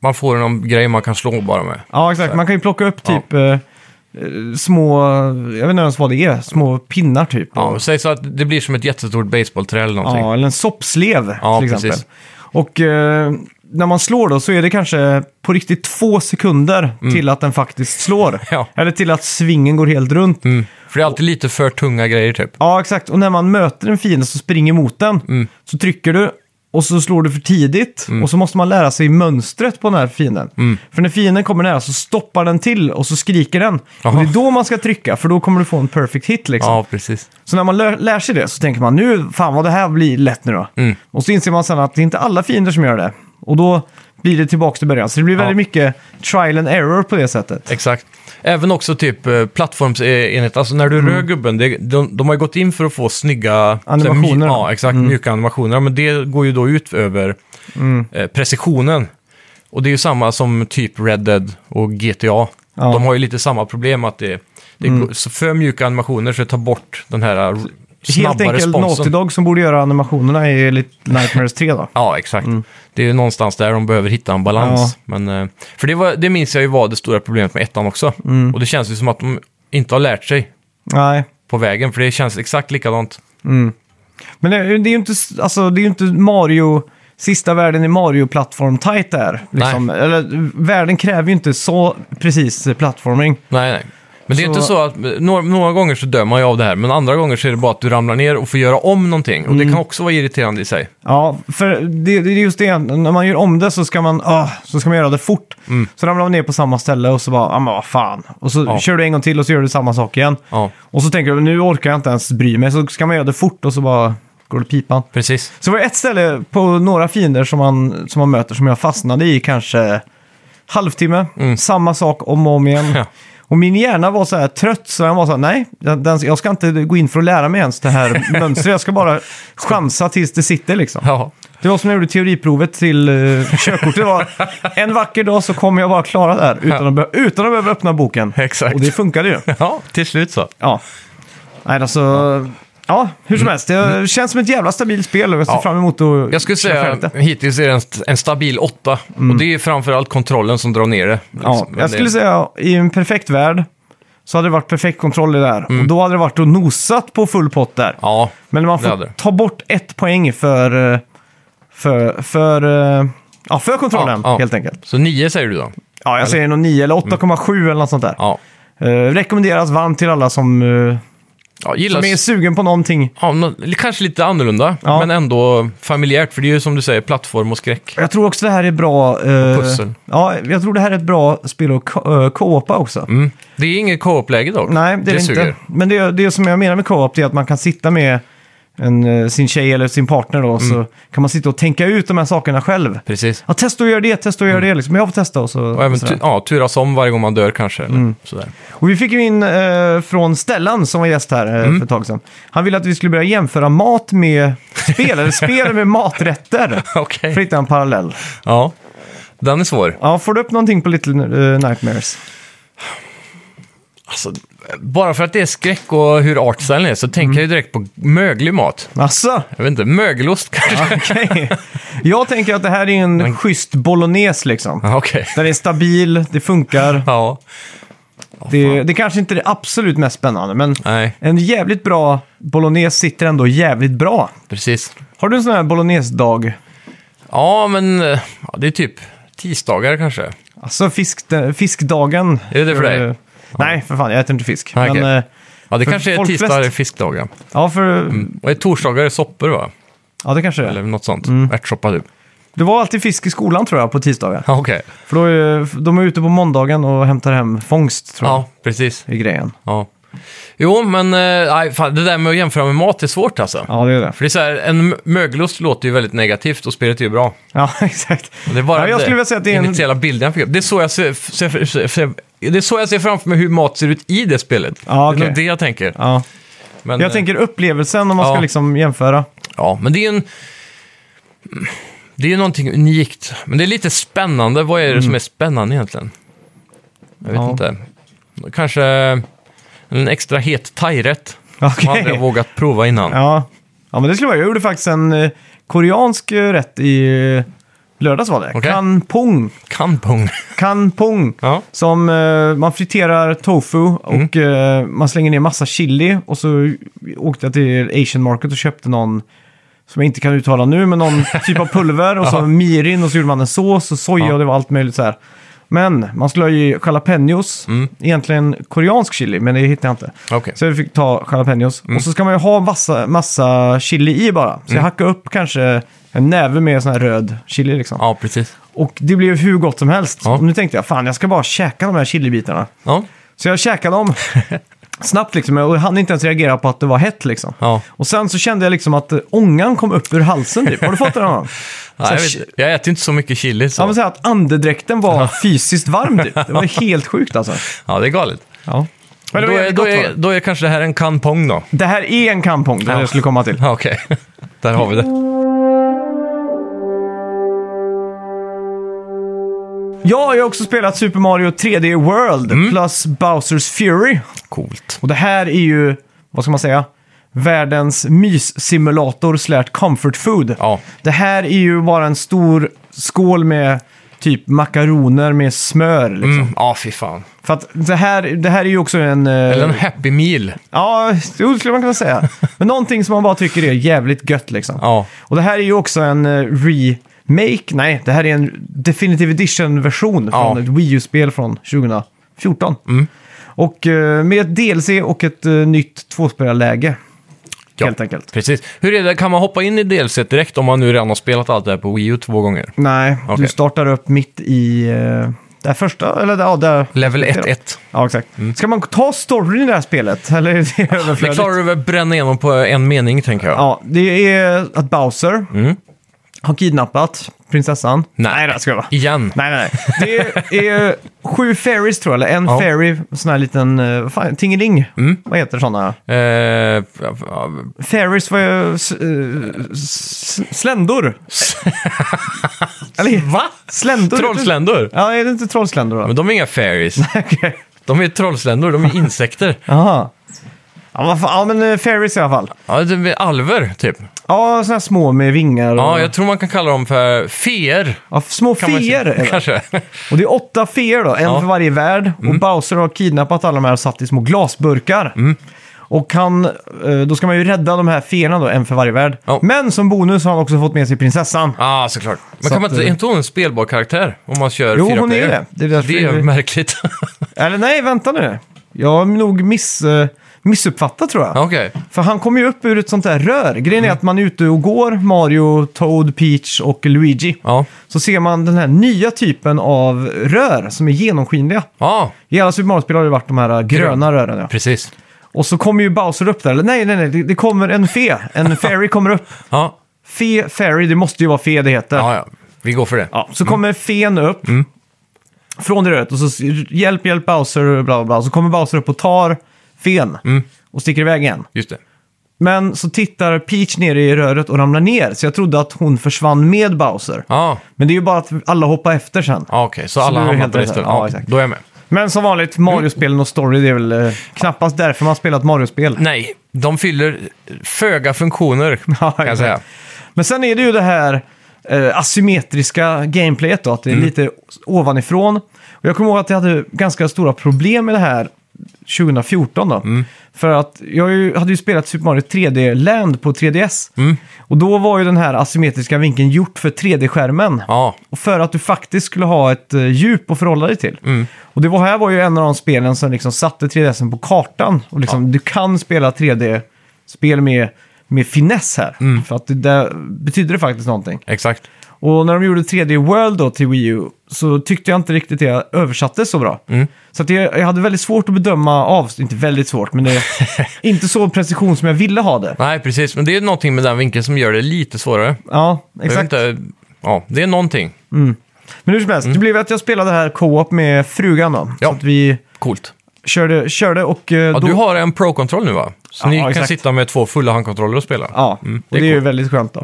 A: Man får någon grej man kan slå bara med.
B: Ja, exakt. Man kan ju plocka upp typ eh, eh, små, jag vet inte ens vad det är, små pinnar typ.
A: Ja, säg så att det blir som ett jättestort baseballträ eller någonting.
B: Ja, eller en soppslev
A: Ja,
B: till exempel.
A: precis.
B: Och eh, när man slår då så är det kanske på riktigt två sekunder till att den faktiskt slår.
A: Mm. <laughs> Ja.
B: Eller till att svingen går helt runt.
A: Mm. För det är alltid lite för tunga grejer typ.
B: Ja, exakt. Och när man möter en fiende som springer mot den
A: Mm.
B: så trycker du och så slår du för tidigt och så måste man lära sig mönstret på den här fienden.
A: Mm.
B: För när fienden kommer nära så stoppar den till och så skriker den.
A: Jaha.
B: Och det är då man ska trycka för då kommer du få en perfect hit liksom.
A: Ja, precis.
B: Så när man lär, lär sig det så tänker man nu, fan vad det här blir lätt nu då.
A: Mm.
B: Och så inser man sen att det är inte alla fiender som gör det. Och då blir det tillbaka till början. Så det blir väldigt mycket trial and error på det sättet.
A: Exakt. Även också typ eh, plattformsenhet, alltså när du rör gubben, det, de, de har ju gått in för att få snygga...
B: Animationer. Mm.
A: så här mj- ja, exakt. Mjuka animationer. Men det går ju då ut över eh, precisionen. Och det är ju samma som typ Red Dead och GTA. De har ju lite samma problem att det, det är go- så för mjuka animationer så det tar bort den här r- snabba
B: Mm. Helt enkelt
A: responsen.
B: Naughty Dog som borde göra animationerna i Little Nightmares 3 då.
A: Ja, exakt.
B: Mm.
A: Det är ju någonstans där de behöver hitta en balans. Men, eh, för det, var, det minns jag ju var det stora problemet med ettan också.
B: Mm.
A: Och det känns ju som att de inte har lärt sig
B: Nej.
A: på vägen, för det känns exakt likadant.
B: Men det, det är ju inte, alltså, det är ju inte Mario, sista världen i Mario-plattform tight där. Liksom. Eller, världen kräver ju inte så precis eh, plattforming.
A: Nej, nej. Men det är
B: Så-
A: inte så att, några, några gånger så dör man ju av det här, men andra gånger så är det bara att du ramlar ner och får göra om någonting. Och
B: Mm.
A: det kan också vara irriterande i sig.
B: Ja, för det, det är just det. När man gör om det så ska man, ah, så ska man göra det fort. Så ramlar man ner på samma ställe och så bara, ah, men vad fan. Och så
A: Mm. Ja.
B: kör du en gång till och så gör du samma sak igen.
A: Ja,
B: Och så tänker du, nu orkar jag inte ens bry mig. Så ska man göra det fort och så bara går det pipan.
A: precis.
B: Så var det ett ställe på några fiender som man, som man möter som jag fastnade i kanske halvtimme. Samma sak om och om igen.
A: Mm. Ja.
B: Och min hjärna var så här trött så den var så här, nej, jag- den, jag ska inte gå in för att lära mig ens det
A: <laughs>
B: här mönstret. Jag ska bara chansa tills det sitter liksom.
A: Ja,
B: Det var som när jag gjorde teoriprovet till uh, körkortet. Det var, en vacker dag så kommer jag vara klara där utan att, be- utan att behöva öppna boken.
A: Exakt.
B: Och det funkade ju.
A: ja till slut så.
B: Ja. Nej, alltså... Ja, hur som helst. Det känns som ett jävla stabilt spel och jag ser
A: Mm. Ja.
B: fram emot att
A: Jag skulle
B: köra
A: säga
B: färdigt det.
A: hittills är det en, st- en stabil åtta. Och det är framförallt kontrollen som drar ner det.
B: Mm. Ja,
A: liksom. Men
B: jag skulle
A: det,
B: säga i en perfekt värld så hade det varit perfekt kontroll i det här. Och då hade det varit och nosat på full pott där.
A: Mm. Ja,
B: Men man
A: det
B: får
A: hade det.
B: ta bort ett poäng för... eh, För... För, eh, ja, för kontrollen,
A: Ja, ja.
B: helt enkelt.
A: så nio säger du då?
B: Ja, jag säger nog 9 eller 8,7 eller något sånt där.
A: Ja.
B: Eh, rekommenderas varmt till alla som, eh,
A: Ja, gillas,
B: som är sugen på någonting.
A: ja, nå- kanske lite annorlunda,
B: Ja.
A: men ändå familjärt. För det är ju som du säger, plattform och skräck.
B: Jag tror också det här är bra... eh,
A: pussel.
B: Ja, jag tror det här är ett bra spel att ko- eh, co-opa också.
A: Mm. Det är inget co-op-läge dock.
B: Nej, det är det inte.
A: suger.
B: Men det, det som jag menar med co-op det är att man kan sitta med en, eh, sin tjej eller sin partner då,
A: Mm.
B: så kan man sitta och tänka ut de här sakerna själv.
A: Precis.
B: Ja, testa och gör det, testa och gör det. Liksom. Jag får testa och så.
A: Mm. Och även
B: sådär. Mm.
A: tu- ja, turas om varje gång man dör kanske. Eller sådär.
B: Och vi fick ju in eh, från Stellan som var gäst här eh,
A: Mm.
B: för ett tag sedan. Han ville att vi skulle börja jämföra mat med spel, eller spel med maträtter.
A: <laughs> Okej.
B: För att hitta en parallell.
A: Ja, den är svår.
B: Ja, får du upp någonting på Little eh, Nightmares?
A: Alltså, bara för att det är skräck och hur artstylen är så
B: Mm.
A: tänker jag ju direkt på möglig mat. <laughs>
B: Asså?
A: Jag vet inte, mögelost kanske?
B: Okej. Jag tänker att det här är en schysst bolognese liksom.
A: <laughs> Ja, Okej.
B: Den är stabil, det funkar.
A: Ja,
B: Det, det kanske inte är det absolut mest spännande, men
A: nej,
B: en jävligt bra bolognese sitter ändå jävligt bra.
A: precis.
B: Har du en sån här bolognese-dag?
A: Ja, men eh, ja, det är typ tisdagar kanske.
B: Alltså fisk, fiskdagen.
A: Är det för dig?
B: Eh, Nej, för fan, jag äter inte fisk.
A: Nej, okej.
B: Men, eh,
A: Ja, det
B: För
A: kanske är
B: folk flest-
A: tisdagar är fiskdagar.
B: ja, för,
A: Och är torsdagar är soppor va?
B: ja, det kanske det
A: Mm. Eller
B: är.
A: något sånt.
B: <laughs>
A: Ärtsoppa typ.
B: Det var alltid fisk i skolan tror jag, på tisdagar.
A: Ja, okej.
B: För då är, de är ute på måndagen och hämtar hem fångst, tror jag.
A: Ja, precis.
B: I grejen.
A: Ja. Jo, men eh, aj, fan, det där med att jämföra med mat är svårt alltså.
B: Ja, det är det.
A: För det är så här, en mö- mögelost låter ju väldigt negativt och spelet är ju bra.
B: Ja, <laughs> exakt.
A: Och Det är bara
B: ja, jag
A: det
B: skulle vilja säga att det är en
A: initiala bilden jag fick upp. Det är så jag ser, ser, ser, ser, det är så jag ser framför mig hur mat ser ut i det spelet.
B: Ja,
A: Det är
B: okej.
A: nog det jag tänker.
B: Ja.
A: Men,
B: Jag
A: eh,
B: tänker upplevelsen om man ska
A: ja.
B: liksom jämföra.
A: Ja, men det är en... Det är ju någonting unikt. Men det är lite spännande. Vad är det som är spännande egentligen? Jag vet
B: Mm. Ja.
A: inte. Kanske en extra het thairätt. Som
B: Okej.
A: jag aldrig har vågat prova innan.
B: Ja. ja, men det skulle vara. Jag gjorde faktiskt en eh, koreansk eh, rätt i eh, lördags var det.
A: Okej.
B: Kanpong.
A: Kampong.
B: Kanpong.
A: Ja.
B: Som eh, man friterar tofu
A: Mm.
B: och eh, man slänger ner massa chili. Och så åkte jag till Asian Market och köpte någon som jag inte kan uttala nu, men
A: <laughs>
B: någon typ av pulver och så mirin och så gjorde man en sås och soja
A: Ja.
B: och det var allt möjligt så här. Men man skulle ha i jalapenos, egentligen koreansk chili, men det hittade jag inte.
A: Mm. Okej. Mm.
B: Så jag fick ta jalapenos. Och så ska man ju ha massa, massa chili i bara. Så jag hackade upp kanske en näve med sån här röd chili liksom.
A: Ja, precis.
B: Och det blev hur gott som helst.
A: Ja.
B: Och nu tänkte jag, fan jag ska bara käka de här chilibitarna.
A: Ja.
B: Så jag käkade
A: <laughs>
B: dem snabbt liksom. Och jag hann inte ens reagera på att det var hett liksom.
A: Ja.
B: Och sen så kände jag liksom att eh, ångan kom upp ur halsen typ. Har du fått det
A: <laughs>
B: någon gång?
A: Nej, jag,
B: Så
A: vet,
B: här,
A: inte. jag äter inte så mycket chili.
B: Ja, men så
A: Så.
B: här att andedräkten var fysiskt varm typ. Det var
A: <laughs>
B: helt sjukt alltså.
A: Ja, det är galet.
B: Ja. Men
A: Då
B: det, var
A: är,
B: jävligt
A: då,
B: gott,
A: är,
B: var det.
A: då är kanske det här en kampong då.
B: det här är en kampong, det var det
A: Ja.
B: jag skulle komma till.
A: Ja, Okej, <laughs> där har vi
B: Mm.
A: det.
B: Ja, jag har också spelat Super Mario 3D World
A: Mm.
B: plus Bowsers Fury.
A: Coolt.
B: Och det här är ju, vad ska man säga, världens myssimulator slash comfort food.
A: Ja.
B: Det här är ju bara en stor skål med typ makaroner med smör. Liksom.
A: Mm, ja, fy fan.
B: För att det här, det här är ju också en... eh,
A: Eller en happy meal.
B: Ja, jo, det skulle man kunna
A: <laughs>
B: säga. Men någonting som man bara tycker är jävligt gött liksom.
A: Ja,
B: Och det här är ju också en eh, remake, nej, det här är en Definitive Edition-version
A: Ja. Mm.
B: från ett Wii U-spel från 2014. Och eh, med ett DLC och ett eh, nytt tvåspelarläge.
A: Ja.
B: Helt enkelt.
A: precis. Hur är det, kan man hoppa in i DLC direkt om man nu redan har spelat allt det här på Wii U två gånger?
B: Nej, du
A: Okej.
B: startar upp mitt i eh, det här första, eller ja, där.
A: Level
B: det då.
A: 1-1.
B: Ja, exakt. Ska man ta storyn i det här spelet? <laughs> Eller är det
A: Mm. Det
B: överflödigt?
A: klarar du väl att bränna igenom på en mening, tänker jag.
B: Ja, det är att Bowser
A: Mm.
B: har kidnappat prinsessan.
A: Nej.
B: det ska jag vara.
A: Igen.
B: Nej, nej, nej. Det är sju fairies tror jag, eller en
A: Ja. Mm.
B: fairy, sån här liten, eh, vad fan, tingeling. Vad heter sådana?
A: Eh,
B: Fairies var ju s- eh, s-
A: <laughs>
B: sländor. eller,
A: va?
B: Sländor?
A: Trollsländor?
B: Ja, är det inte trollsländor då?
A: Men de är inga fairies.
B: <laughs> Okej.
A: De är trollsländor, de är insekter.
B: Jaha. Ja, vad fan, ja, men eh, fairies i alla fall.
A: Ja, de är alver, typ.
B: Ja, såna här små med vingar. Och,
A: Ja, jag tror man kan kalla dem för feer.
B: ja, små
A: kan man
B: Mm. feer.
A: säga. <laughs>
B: är det. <laughs>
A: Kanske.
B: Och det är åtta feer då, en
A: Ja. Mm.
B: för varje värld. Och Bowser har kidnappat alla de här och satt i små glasburkar. Och han, eh, då ska man ju rädda de här feerna då, en för varje värld.
A: Ja.
B: Men som bonus har han också fått med sig prinsessan.
A: Ja, ah, såklart. Men
B: Så
A: kan man
B: att,
A: inte, är
B: eh,
A: inte hon en spelbar karaktär om man kör
B: Jo,
A: fyra
B: hon är
A: player?
B: det. Det är därför
A: det är
B: vi-
A: märkligt. <laughs>
B: Eller nej, vänta nu. Jag har nog miss, eh, missuppfattat tror jag.
A: Ja, Mm. Okej.
B: För han kommer ju upp ur ett sånt där rör. Grejen är att man är ute och går, Mario, Toad, Peach och Luigi.
A: Ja.
B: Så ser man den här nya typen av rör som är genomskinliga.
A: Ja,
B: I alla Super Mario-spel har det varit de här eh, gröna rören. Ja.
A: precis.
B: Och så kommer ju Bowser upp där. Eller nej, nej, nej, det, det kommer en fe.
A: <laughs>
B: En fairy kommer upp.
A: Ja,
B: Fe, fairy, det måste ju vara fe det heter.
A: ja, Mm. ja. vi går för det.
B: Ja, så kommer fen upp från det röret och så s- hjälp, hjälp Bowser och bla bla bla. Så kommer Bowser upp och tar fen
A: Mm.
B: och sticker iväg igen.
A: Just det.
B: Men så tittar Peach ner i röret och ramlar ner. Så jag trodde att hon försvann med Bowser.
A: Ja,
B: Men det är ju bara att alla hoppar efter sen.
A: ja okej. Så
B: Så
A: alla
B: du är
A: hamnar
B: helt
A: på det
B: rätt.
A: stället.
B: Ja,
A: Ja,
B: exakt.
A: Då är jag med.
B: Men som vanligt, Mario-spelen och story, det är väl eh, knappast därför man spelat Mario-spel.
A: Nej, de fyller föga funktioner,
B: <laughs> Ja,
A: kan jag
B: exakt.
A: säga.
B: Men sen är det ju det här eh, asymmetriska gameplayet då, att det är lite ovanifrån. Och jag kommer ihåg att jag hade ganska stora problem med det här 2014 då. För att jag har ju- hade ju spelat Super Mario 3D Land på 3DS. Och då var ju den här asymmetriska vinkeln gjort för 3D-skärmen.
A: Ja,
B: Och för att du faktiskt skulle ha ett eh, djup att förhålla dig till.
A: Mm.
B: Och det var här var ju en av de spelen som liksom satte 3DSen på kartan. Och liksom, Du kan spela 3D-spel med, med finess här.
A: Mm.
B: För att det där betyder det faktiskt någonting.
A: exakt.
B: Och när de gjorde 3D World då till Wii U så tyckte jag inte riktigt det översattes så bra.
A: Mm.
B: Så att jag, jag hade väldigt svårt att bedöma av, inte väldigt svårt, men det
A: <laughs>
B: är inte så precision som jag ville ha det.
A: Nej, precis. Men det är någonting med den vinkeln som gör det lite svårare.
B: Ja,
A: Jag
B: exakt.
A: vet Inte, ja, det är någonting.
B: Men hur som helst, det blev att jag spelade här co-op med frugan då.
A: Mm. Ja.
B: Så att vi
A: Coolt.
B: körde, körde och... eh,
A: Ja,
B: då,
A: du har en Pro-kontroll nu va? Så
B: Ja,
A: ni kan
B: exakt.
A: sitta med två fulla handkontroller och spela?
B: Ja,
A: Mm,
B: det är,
A: det är Mm.
B: och det är ju väldigt skönt då.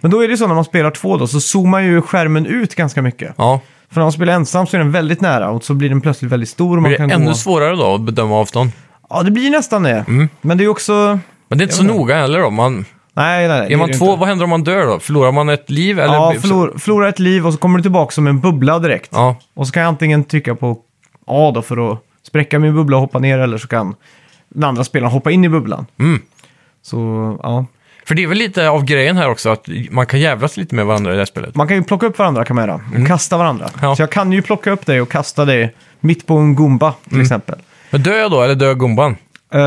B: Men då är det så när man spelar två då, så zoomar ju skärmen ut ganska mycket.
A: Ja.
B: För när man spelar ensam så är den väldigt nära och så blir den plötsligt väldigt stor. Och man
A: Blir det
B: kan
A: ännu
B: gå...
A: svårare då att bedöma avstånd?
B: Ja, det blir nästan det.
A: Mm.
B: Men det är ju också...
A: Men det är inte så noga heller då. Man,
B: Nej, nej, nej. det
A: är man
B: det ju
A: två,
B: inte.
A: vad händer om man dör då? Förlorar man ett liv? Eller
B: Ja, förlor, förlorar ett liv och så kommer du tillbaka som en bubbla direkt.
A: Ja,
B: Och så kan jag antingen trycka på A då för att spräcka min bubbla och hoppa ner eller så kan den andra spelaren hoppa in i bubblan.
A: Mm.
B: Så ja,
A: för det är väl lite av grejen här också att man kan jävlas lite med varandra i det här spelet.
B: man kan ju plocka upp varandra kan man göra. Och kasta varandra.
A: Mm. Ja.
B: Så jag kan ju plocka upp dig och kasta dig mitt på en gumba till
A: Mm.
B: exempel.
A: Men dör jag då, eller dör gumban?
B: Eh,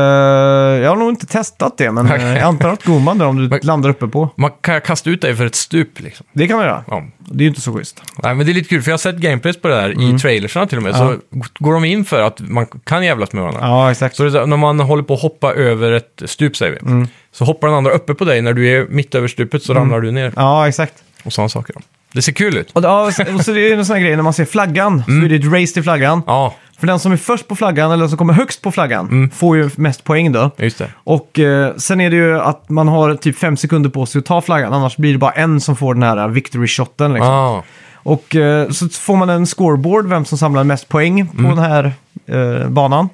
B: jag har nog inte testat det, men eh,
A: Okej.
B: jag antar att gumban där om du
A: <laughs> Men-
B: landar uppe på.
A: Man kan jag kasta ut dig för ett stup liksom.
B: Det kan man göra.
A: Ja.
B: Det är ju inte så schysst.
A: Nej, men det är lite kul, för jag har sett gameplays på det här
B: Mm.
A: i trailersarna till och med. Så går de in för att man kan jävlas med varandra.
B: Ja, exakt.
A: Så det är, så här, när man håller på att hoppa över ett stup, säger vi,
B: Mm.
A: så hoppar den andra uppe på dig. När du är mitt över stupet så ramlar du ner
B: Ja, exakt.
A: och sådana saker. då. Det ser kul ut.
B: Och, ja, och så- och så är det en sån här grej, när man ser flaggan så är det ett race till flaggan.
A: Mm. Ja, Mm.
B: För den som är först på flaggan, eller den som kommer högst på flaggan, får ju mest poäng då.
A: just det.
B: Och eh, sen är det ju att man har typ fem sekunder på sig att ta flaggan, annars blir det bara en som får den här victory shoten. Liksom.
A: Ah,
B: Och eh, så får man en scoreboard, vem som samlar mest poäng på
A: Mm.
B: den här eh, banan.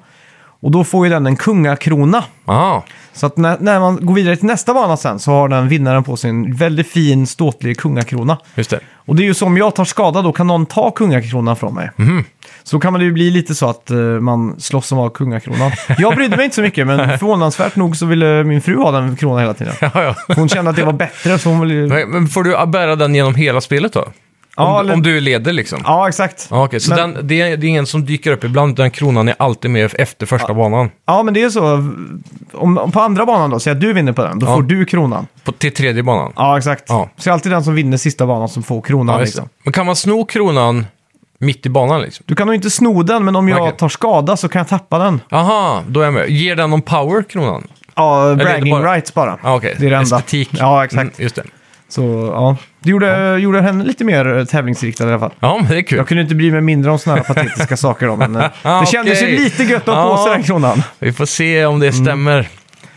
B: Och då får ju den en kungakrona.
A: ah.
B: Så att när, när man går vidare till nästa bana sen så har den vinnaren på sig en väldigt fin ståtlig kungakrona.
A: just det. <laughs>
B: Och det är ju så, om jag tar skada då kan någon ta kungakronan från mig.
A: Mhm.
B: Så då kan man ju bli lite så att eh, man slåss om att ha kungakronan. Jag brydde mig inte så mycket,
A: <laughs>
B: men förvånansvärt nog så ville min fru ha den kronan hela tiden.
A: Ja, ja.
B: Hon kände att det var bättre, så hon ville ju...
A: Men, men får du bära den genom hela spelet då?
B: Ja,
A: om,
B: eller-
A: om du leder liksom? Ja.
B: Ja, exakt.
A: Okej, så
B: Men-
A: den, det, är, det är ingen som dyker upp ibland, utan kronan är alltid med efter första banan.
B: Ja, men det är så. Om, om på andra banan då, säg att du vinner på den, då
A: Ja.
B: får du kronan.
A: På, till tredje banan.
B: Ja, exakt.
A: Ja.
B: Så det är alltid den som vinner sista banan som får kronan.
A: Ja, just det.
B: liksom.
A: Men kan man sno kronan mitt i banan liksom?
B: Du kan nog inte sno den, men om jag
A: Okej.
B: tar skada så kan jag tappa den.
A: Aha, då är jag med. Ger den någon power, kronan?
B: Ja,
A: det
B: bragging
A: bara-
B: rights bara.
A: Ah, okej.
B: Det är det enda.
A: Estetik.
B: Ja, exakt.
A: Mm, just det.
B: Så ja, det gjorde, gjorde henne lite mer eh, tävlingsriktad i alla fall.
A: Ja, men det är kul.
B: Jag kunde inte bry mig mindre om
A: <laughs>
B: sådana här patetiska saker då, men eh,
A: Ah,
B: det kändes
A: okej.
B: ju lite gött att ha på
A: Ja.
B: sig den kronan.
A: Vi får se om
B: Mm.
A: det stämmer.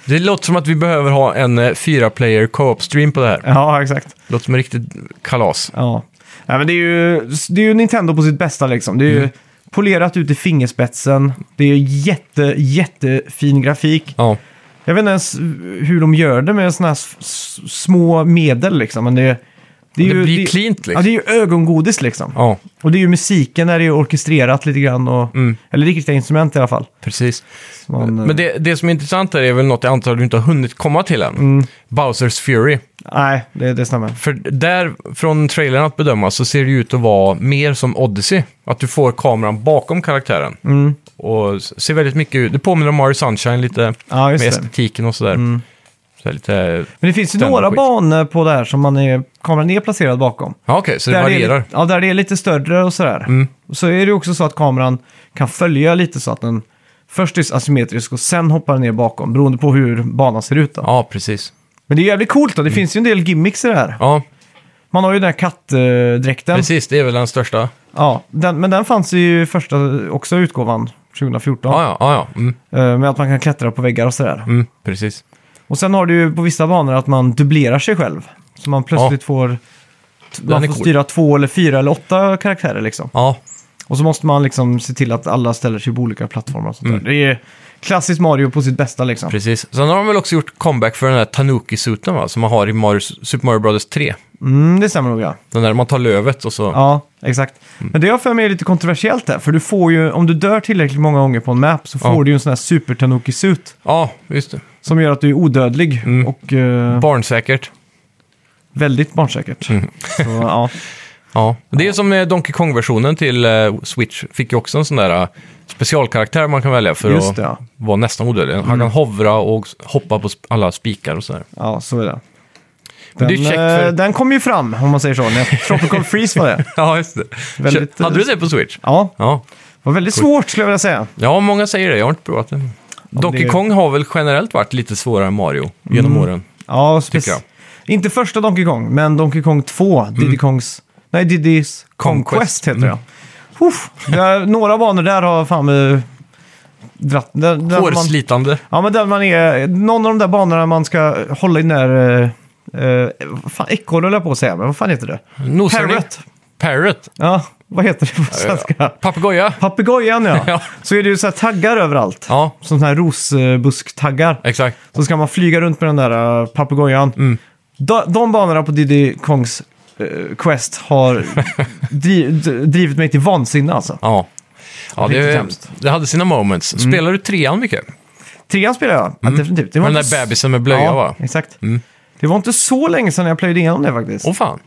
A: Det låter som att vi behöver ha en eh, fyra player co-op stream på det här.
B: Ja, exakt.
A: Låter som en riktigt kalas.
B: Ja. Nej, men det, är ju, det är ju Nintendo på sitt bästa liksom. Det är
A: Mm.
B: ju polerat ut i fingerspetsen. Det är ju jätte, jättefin grafik.
A: Ja,
B: Jag vet inte ens hur de gör det med sådana här s- s- små medel liksom, men det, är- det är
A: det
B: ju...
A: blir
B: det,
A: cleant liksom.
B: Ja, det är ju ögongodis liksom.
A: Ja,
B: Och det är ju musiken där det är orkestrerat lite grann. Och,
A: Mm.
B: Eller riktiga instrument i alla fall.
A: precis.
B: Så man, eh,
A: Men det, det som är intressant här är väl något jag antar du inte har hunnit komma till än.
B: Mm.
A: Bowsers Fury.
B: eh, Nej, det, det stämmer.
A: För där, från trailern att bedöma, så ser det ju ut att vara mer som Odyssey. Att du får kameran bakom karaktären.
B: Mm.
A: Och s- ser väldigt mycket ut. Det påminner om Mario Sunshine lite.
B: Ja, just
A: med
B: det. Mm.
A: estetiken och sådär. Så här lite...
B: Men det finns ju
A: Stämmer
B: några
A: skit.
B: banor på det här som man är, kameran är placerad bakom.
A: Ja, okej, så det
B: Där
A: varierar. Mm.
B: Det är, ja, där det är lite större och sådär. Så är det också så att kameran kan följa lite så att den först är asymmetrisk och sen hoppar den ner bakom beroende på hur banan ser ut. Då.
A: Ja, Mm. precis.
B: Men det är jävligt coolt då. Det finns ju en del gimmicks i det här.
A: Ja,
B: Man har ju den här kattdräkten.
A: precis. Det är väl den största.
B: Ja, den, men den fanns ju i första också utgåvan 2014.
A: Ja, ja, ja. ja. Mm,
B: Eh, Med att man kan klättra på väggar och sådär.
A: mm, precis.
B: Och sen har du ju på vissa banor att man dubblerar sig själv. Så man plötsligt får,
A: är
B: man får
A: cool.
B: styra två eller fyra eller åtta karaktärer liksom.
A: Ja,
B: Och så måste man liksom se till att alla ställer sig på olika plattformar och sånt
A: Mm.
B: där. Det är klassiskt Mario på sitt bästa liksom.
A: precis. Sen har de väl också gjort comeback för den där Tanuki-suten va? Som man har i Mario, Super Mario Bros 3.
B: Mm, det stämmer nog ja.
A: Den där man tar lövet och så...
B: Ja, exakt.
A: Mm.
B: Men det jag för mig är lite kontroversiellt där. För du får ju, om du dör tillräckligt många gånger på en map så får
A: Ja.
B: du ju en sån här super tanuki suit
A: Ja, just det.
B: Som gör att du är odödlig
A: Mm.
B: och eh,
A: Barnsäkert.
B: väldigt barnsäkert.
A: Mm.
B: Så,
A: <laughs>
B: ja.
A: Ja. Det är som eh, Donkey Kong-versionen till eh, Switch. Fick ju också en sån där eh, specialkaraktär man kan välja för
B: Just
A: att
B: det, Mm. ja.
A: vara nästan odödlig. Han kan hovra och s- hoppa på sp- alla spikar
B: <laughs>
A: och sådär.
B: Ja, så är det. Den,
A: Men det är käckt för-
B: eh, den kom ju fram, om man säger så. När Tropical Freeze var det.
A: Ja, just det.
B: Väldigt, eh,
A: Hade du det på Switch?
B: Ja,
A: Ja.
B: var väldigt svårt skulle jag vilja säga.
A: Ja, många säger det. Jag har inte provat det. Donkey
B: det- Mm.
A: Kong har väl generellt varit lite svårare än Mario genom åren.
B: Ja, spec-
A: Tycker jag. Mm.
B: Inte första Donkey Kong, men Donkey Kong 2, Diddy Kongs Nej, Diddy's Conquest,
A: Conquest, Mm.
B: heter det. ja. Uff, det är, några banor där har fan med... Dratt, där, där man,
A: Hårslitande.
B: ja, men där man är... Någon av de där banorna man ska hålla i den där... eh, Eh, vad fan, ekorre höll jag på att säga, men vad fan heter det?
A: Nosarna.
B: Parrot.
A: Parrot.
B: Ja, vad heter det på svenska?
A: Papegoja.
B: Papegojan ja.
A: <laughs> Ja.
B: Så är det ju så här taggar överallt.
A: Ja,
B: Som sådana här rosbusktaggar.
A: exakt.
B: Så ska man flyga runt med den där äh, papegojan.
A: Mm.
B: Da- De banorna på Diddy Kongs eh, Quest
A: <laughs>
B: har dri- d- drivit mig till vansinne alltså.
A: Ja. Ja,
B: Riktigt
A: det,
B: hemskt. Mm.
A: det hade sina moments. Spelar du trean mycket?
B: Trean spelade jag, ja, definitivt. Det
A: Med Mm. den där
B: inte s-
A: bebisen med blöja,
B: ja,
A: va? Mm.
B: exakt. Det var inte så länge sedan jag plöjde igenom det faktiskt.
A: Åh fan.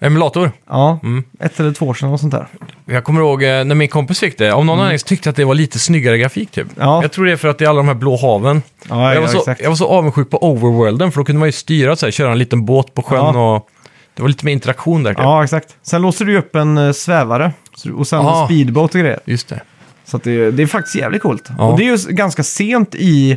A: Emulator.
B: Ja,
A: Mm.
B: ett eller två år sedan och sånt där.
A: Jag kommer ihåg eh, när min kompis fick det. Av någon anledning så tyckte jag att det var lite snyggare grafik typ.
B: Mm. Ja.
A: Jag tror det är för att det är alla de här blå haven.
B: Ja,
A: jag, var
B: ja,
A: så,
B: exakt.
A: jag var så avundsjuk på overworlden för då kunde man ju styra så här, köra en liten båt på sjön
B: Ja.
A: och... Det var lite mer interaktion där. typ.
B: Ja, exakt. Sen låser du ju upp en eh, svävare så du- och sen
A: Ja.
B: en speedboat och grejer.
A: Just det.
B: Så att det, det är faktiskt jävligt coolt.
A: Ja.
B: Och det är ju s- ganska sent i...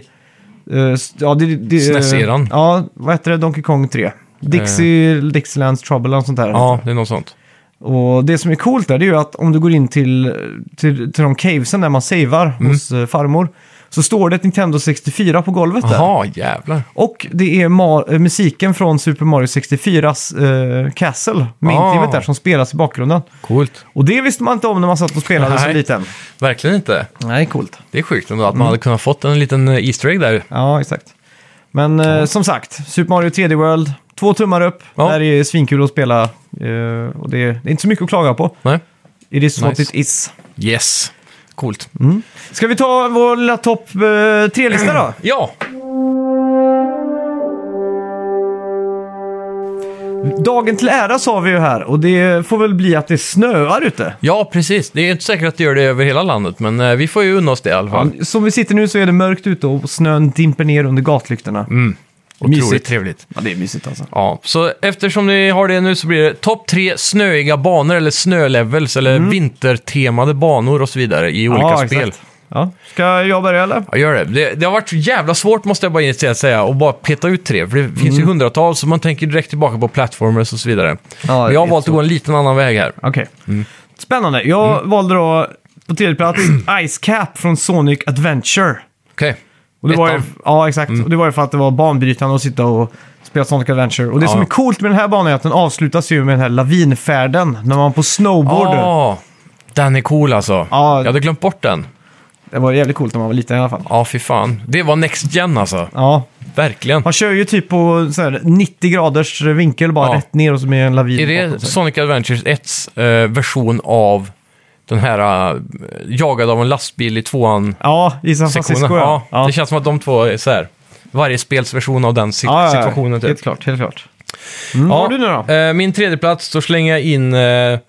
B: eh, s- ja, det, det, eh,
A: SNES-eran.
B: Ja, vad heter det? Donkey Kong 3. Dixie, Dixielands Trouble och sånt där.
A: Eh. Ja, det är något sånt.
B: Och det som är coolt där, det är ju att om du går in till, till, till de cavesen där man savear
A: Mm.
B: hos eh, farmor. Så står det ett Nintendo 64 på golvet där.
A: Jaha, jävlar.
B: Och det är ma- eh, musiken från Super Mario 64s eh, Castle, main-teamet
A: Ah.
B: där, som spelas i bakgrunden.
A: Coolt.
B: Och det visste man inte om när man satt och spelade som
A: Nej.
B: liten.
A: Verkligen inte.
B: Nej, coolt.
A: Det är sjukt ändå att
B: Mm.
A: man hade kunnat fått en liten eh, Easter egg där.
B: Ja, exakt. Men eh, som sagt, Super Mario 3D World, två tummar upp.
A: Ja.
B: Där är svinkul att spela eh, och det är, det är inte så mycket att klaga på.
A: Nej.
B: It is what
A: Nice.
B: it is.
A: Yes. Coolt.
B: Ska vi ta vår lilla topp eh, tre-lista
A: <clears throat>
B: då?
A: Ja,
B: Dagen till ära sa vi ju här och det får väl bli att det snöar ute.
A: ja precis. Det är inte säkert att det gör det över hela landet, men eh, vi får ju unna oss det i alla fall.
B: Som vi sitter nu så är det mörkt ute och snön dimper ner under gatlyktorna.
A: Mm.
B: mysigt.
A: trevligt.
B: Ja, det är mysigt alltså.
A: Ja, så eftersom ni har det nu så blir det topp tre snöiga banor eller snölevels eller vintertemade banor och så vidare i olika
B: Mm. ja,
A: spel.
B: Exakt. Ja. Ska jag börja eller?
A: Ja, gör det. det. Det har varit så jävla svårt måste jag bara initialt säga att bara peta ut tre. För det finns
B: Mm.
A: ju hundratals så man tänker direkt tillbaka på platformers och så vidare.
B: Ja,
A: Men jag har
B: det är
A: valt att
B: så.
A: gå en liten annan väg här.
B: Okej.
A: Mm.
B: Spännande. Jag valde då på tredje
A: <clears throat>
B: plats Ice Cap från Sonic Adventure.
A: Okej.
B: Och det var ju,
A: Ettan.
B: ja, exakt.
A: Mm.
B: Och det var ju för att det var banbrytande att sitta och spela Sonic Adventure. Och det
A: Ja.
B: som är coolt med den här banan är att den avslutas ju med den här lavinfärden när man på snowboard.
A: Ja, Ah, den är cool alltså.
B: Ja.
A: Jag hade glömt bort den.
B: Det var jävligt coolt när man var liten i alla fall.
A: Ja, fy fan. Det var next gen alltså.
B: Ja.
A: Verkligen.
B: Man kör ju typ på så här 90 graders vinkel bara
A: Ja.
B: rätt ner och så med en lavin
A: Är det
B: bakom sig.
A: Sonic Adventures 1 eh, version av den här eh, jagad av en lastbil i tvåan
B: Ja, i San Francisco
A: sektionen? Ja,
B: ja.
A: Det känns som att de två är så här. Varje spels version av den si-
B: Ja, ja, ja.
A: situationen. Typ.
B: Helt klart, helt klart. Mm, Vad har du nu då?
A: Eh, min tredje plats så slänger jag in eh,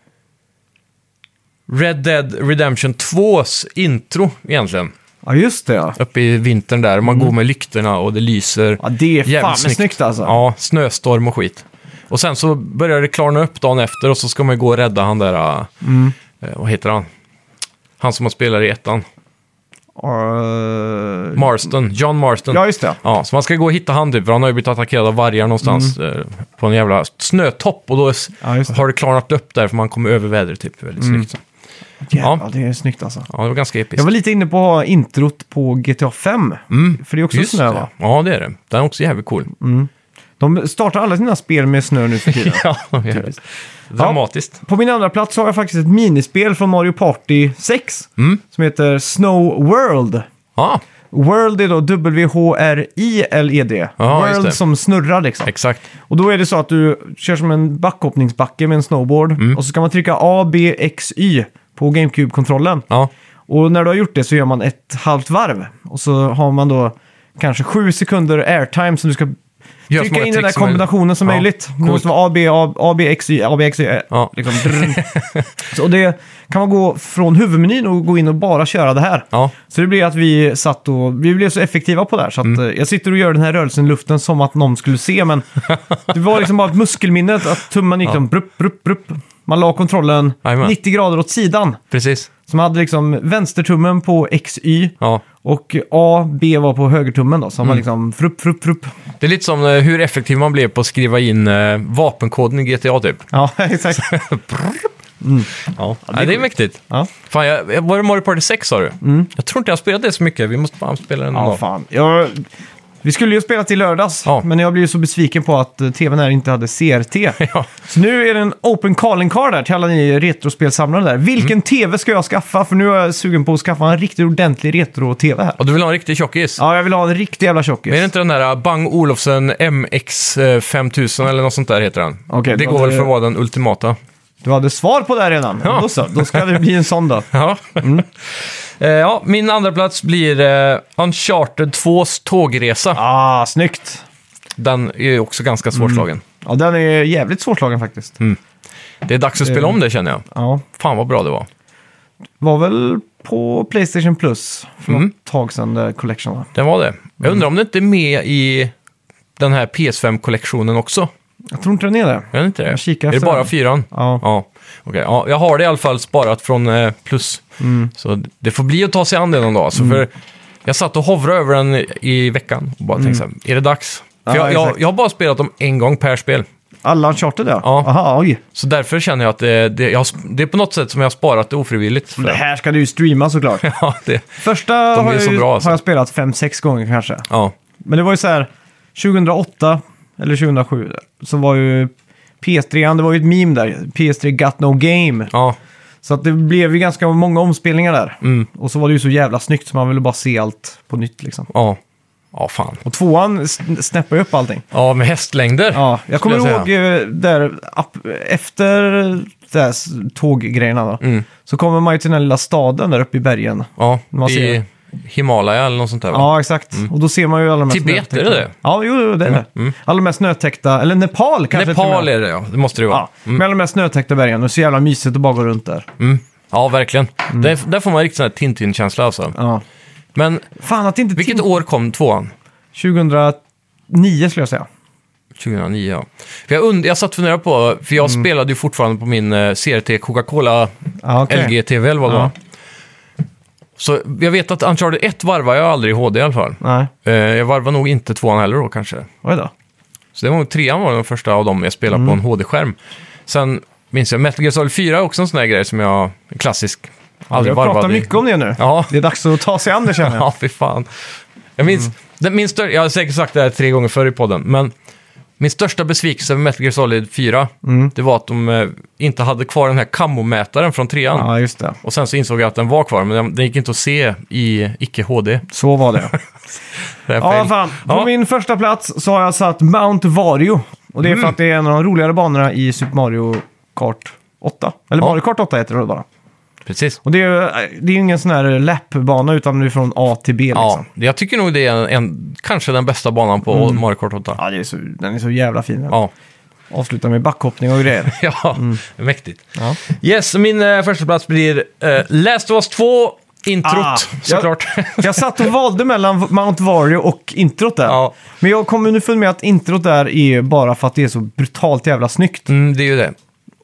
A: Red Dead Redemption 2s intro egentligen.
B: Ja, just det ja.
A: Uppe i vintern där. Man går med lyktorna och det lyser.
B: Mm. Ja, det är fan
A: Jävligt
B: med snyggt. snyggt alltså.
A: Ja, snöstorm och skit. Och sen så börjar det klarna upp dagen efter och så ska man ju gå och rädda han där, äh,
B: Mm.
A: eh, vad heter han? Han som man spelar i ettan.
B: Eh,
A: Marston, John Marston.
B: Ja, just det.
A: Ja, så man ska gå och hitta han typ, för han har ju blivit attackerad av vargar någonstans eh, på en jävla snötopp och då s-
B: Mm. Ja, just det.
A: har det klarnat upp där för man kommer över vädret typ väldigt snyggt.
B: Jävlar,
A: Ja.
B: det är snyggt alltså.
A: Ja, det var ganska episkt.
B: Jag var lite inne på att ha introt på GTA 5. För det är också
A: Mm, Just
B: snö
A: det.
B: va? Mm.
A: Ja, det är det. Den är också jävligt cool.
B: De startar alla sina spel med snö nu för tiden.
A: <laughs> Ja, det är det. Dramatiskt.
B: På min andra plats har jag faktiskt ett minispel från Mario Party 6.
A: Mm.
B: Som heter Snow World.
A: Ja,
B: World är då W-H-R-I-L-E-D.
A: Ja, just det.
B: E World som snurrar liksom.
A: exakt.
B: Och då är det så att du kör som en backhoppningsbacke med en snowboard.
A: Mm.
B: Och så kan man trycka A, B, X, Y på GameCube-kontrollen.
A: Ja,
B: Och när du har gjort det så gör man ett halvt varv. Och så har man då kanske sju sekunder airtime som du ska
A: Gör så
B: trycka
A: många
B: in den där
A: tricks som möjligt.
B: kombinationen som
A: Ja,
B: möjligt. Det
A: coolt.
B: måste vara AB, AB, AB, XY, AB, XY.
A: Ja.
B: Liksom,
A: <laughs>
B: drr. så det kan man gå från huvudmenyn och gå in och bara köra det här.
A: ja.
B: Så det blir att vi satt och, vi blev så effektiva på det här så att
A: Mm.
B: eh, jag sitter och gör den här rörelsen i luften som att någon skulle se
A: <laughs>
B: men det var liksom bara ett muskelminne att tummen gick liksom brupp, brupp, brupp. Man la kontrollen
A: Jajamän.
B: 90 grader åt sidan.
A: precis.
B: Som hade liksom vänstertummen på XY
A: Ja.
B: Och A, B var på högertummen då, så han
A: Mm.
B: var liksom frupp, frupp, frupp.
A: Det är lite som eh, hur effektiv man blev på att skriva in eh, vapenkoden i GTA typ.
B: Ja, <laughs> exakt.
A: Ja, det, Nej, det är mäktigt.
B: Ja,
A: Fan, jag, jag- var det Mario Party 6 sa du? Jag tror inte jag har spelat det så mycket. Vi måste bara spela den någon
B: Mm. ja
A: dag.
B: fan. Jag, vi skulle ju spela till lördags,
A: Ja.
B: men jag blev ju så besviken på att eh, tvn här inte hade CRT.
A: <laughs> Ja.
B: Så nu är det en open calling card där till alla ni retrospelsamlare där. Vilken
A: Mm.
B: tv ska jag skaffa? För nu är jag sugen på att skaffa en riktigt ordentlig retro-tv här.
A: Och du vill ha en riktig tjockis?
B: Ja, jag vill ha en riktig jävla tjockis.
A: Men Är det inte den där Bang Olufsen MX5000 eller något sånt där heter den?
B: Okej,
A: det
B: då
A: går
B: hade
A: väl för
B: det-
A: att vara den ultimata. <laughs>
B: Du hade svar på det här redan.
A: Ja.
B: Då så, då ska det bli en sån
A: <laughs>
B: då.
A: Ja.
B: Mm.
A: Eh, ja, min andra plats blir eh, Uncharted 2s tågresa.
B: Ah, snyggt.
A: Den är ju också
B: Mm.
A: ganska svårslagen.
B: Ja, den är jävligt svårslagen faktiskt.
A: Mm. Det är dags att spela
B: Eh.
A: om det känner jag.
B: Ja,
A: Fan vad bra det var.
B: var väl på Playstation Plus för
A: Mm.
B: något tag sedan, där collection va?
A: Den var det.
B: Mm.
A: Jag undrar om det inte är med i den här PS5-kollektionen också.
B: Jag tror inte den är det.
A: Är det inte det?
B: Jag kikar
A: är det
B: efter
A: bara
B: den.
A: fyran?
B: Ja.
A: Ja. okej. ja. Jag har det i alla fall sparat från eh, plus.
B: Mm.
A: Så det får bli att ta sig an det någon dag. Så för jag satt och hovrade över den i- i veckan och bara tänkte så här, är det dags? För
B: Mm. Ja,
A: jag, jag,
B: exakt.
A: jag har bara spelat dem en gång per spel.
B: Alla Uncharted ja.
A: Ja.
B: Aha, oj.
A: Så därför känner jag att det, det, jag, har sp- det är på något sätt som jag har sparat det ofrivilligt. För.
B: Det här ska du ju streama såklart.
A: <laughs> Ja, det,
B: Första
A: är
B: har jag,
A: så
B: ju-
A: bra, alltså.
B: har jag spelat fem sex gånger kanske.
A: ja.
B: Men det var ju så här, 2008 eller 2007 så var ju PS3, det var ju ett meme där, PS3 got no game.
A: ja.
B: Så att det blev ju ganska många omspelningar där.
A: Mm.
B: Och så var det ju så jävla snyggt så man ville bara se allt på nytt liksom.
A: Ja, ja fan.
B: Och tvåan sn- snäppar ju upp allting.
A: Ja, med hästlängder.
B: Ja, jag kommer
A: skulle jag
B: ihåg eh, där, app- efter det här s- tåggrejerna då, så kommer man ju till den här lilla staden där uppe i bergen.
A: Mm. Ja,
B: Man ser
A: i
B: det.
A: Himalaya eller något sånt där. va?
B: Ja, exakt.
A: Mm.
B: Och då ser man ju alla de här
A: Tibet,
B: snötäckta-
A: är det det?
B: Ja, jo, jo, det
A: Mm.
B: är det. Alla de här snötäckta, eller Nepal kanske till och
A: Nepal
B: med.
A: är det ja, det måste det vara.
B: Ja, med alla de här snötäckta bergen. Det är så jävla mysigt att bara gå runt där.
A: Mm. Ja, verkligen. Där, där får man riktigt sån här Tintin-känsla alltså.
B: Mm. Ja.
A: Men
B: Fan att inte...
A: vilket
B: till-
A: år kom tvåan?
B: 2009 skulle jag säga.
A: 2009, ja. För jag, und- jag satt och funderade på, för jag
B: Mm.
A: spelade ju fortfarande på min eh, CRT Coca-Cola
B: Ja, okej.
A: LG-TV eller vad det
B: Ja.
A: var. Så jag vet att Uncharted 1 varvade jag aldrig i HD i alla fall.
B: Nej,
A: Eh, jag varvade nog inte tvåan heller då kanske.
B: oj då.
A: Så det var nog trean var den första av dem jag spelade
B: Mm.
A: på en HD-skärm. Sen minns jag Metal Gear Solid 4 är också en sån där grej som jag, en klassisk, aldrig
B: Jag
A: varvade.
B: pratar
A: i.
B: mycket om det nu.
A: Ja.
B: Det är dags att ta sig an det Mm. känner jag.
A: <laughs> Ja, fy fan. Jag minns, den, min stör, jag har säkert sagt det här tre gånger förr i podden, men min största besvikelse med Metal Gear Solid 4,
B: Mm.
A: det var att de eh, inte hade kvar den här kammomätaren från trean.
B: Ja, just det.
A: Och sen så insåg jag att den var kvar, men den, den gick inte att se i icke-HD.
B: Så var det.
A: Det är
B: ja,
A: fel.
B: fan. På
A: Ja.
B: min första plats så har jag satt Mount Vario. Och det är för
A: Mm.
B: att det är en av de roligare banorna i Super Mario Kart 8. Eller
A: Ja.
B: Mario Kart 8 heter det bara.
A: Precis.
B: Och det är ju eh, det är ju ingen sån här lappbana utan det är från A till B liksom. Mm.
A: Ja, jag tycker nog det är en, en, kanske den bästa banan på Mario Kart 8.
B: Ja, det är så, den är så jävla fin. den.
A: Ja,
B: Avslutar med backhoppning och
A: <laughs>
B: grejer.
A: ja
B: Mm.
A: mäktigt.
B: Ja.
A: Yes, min eh, första plats blir eh, Last of Us 2, introt
B: Ah,
A: såklart. <laughs>
B: Jag satt och valde mellan Mount Vario och introt där.
A: Ja.
B: Men jag kom underfund med att introt där är bara för att det är så brutalt jävla snyggt.
A: mm, det är ju det.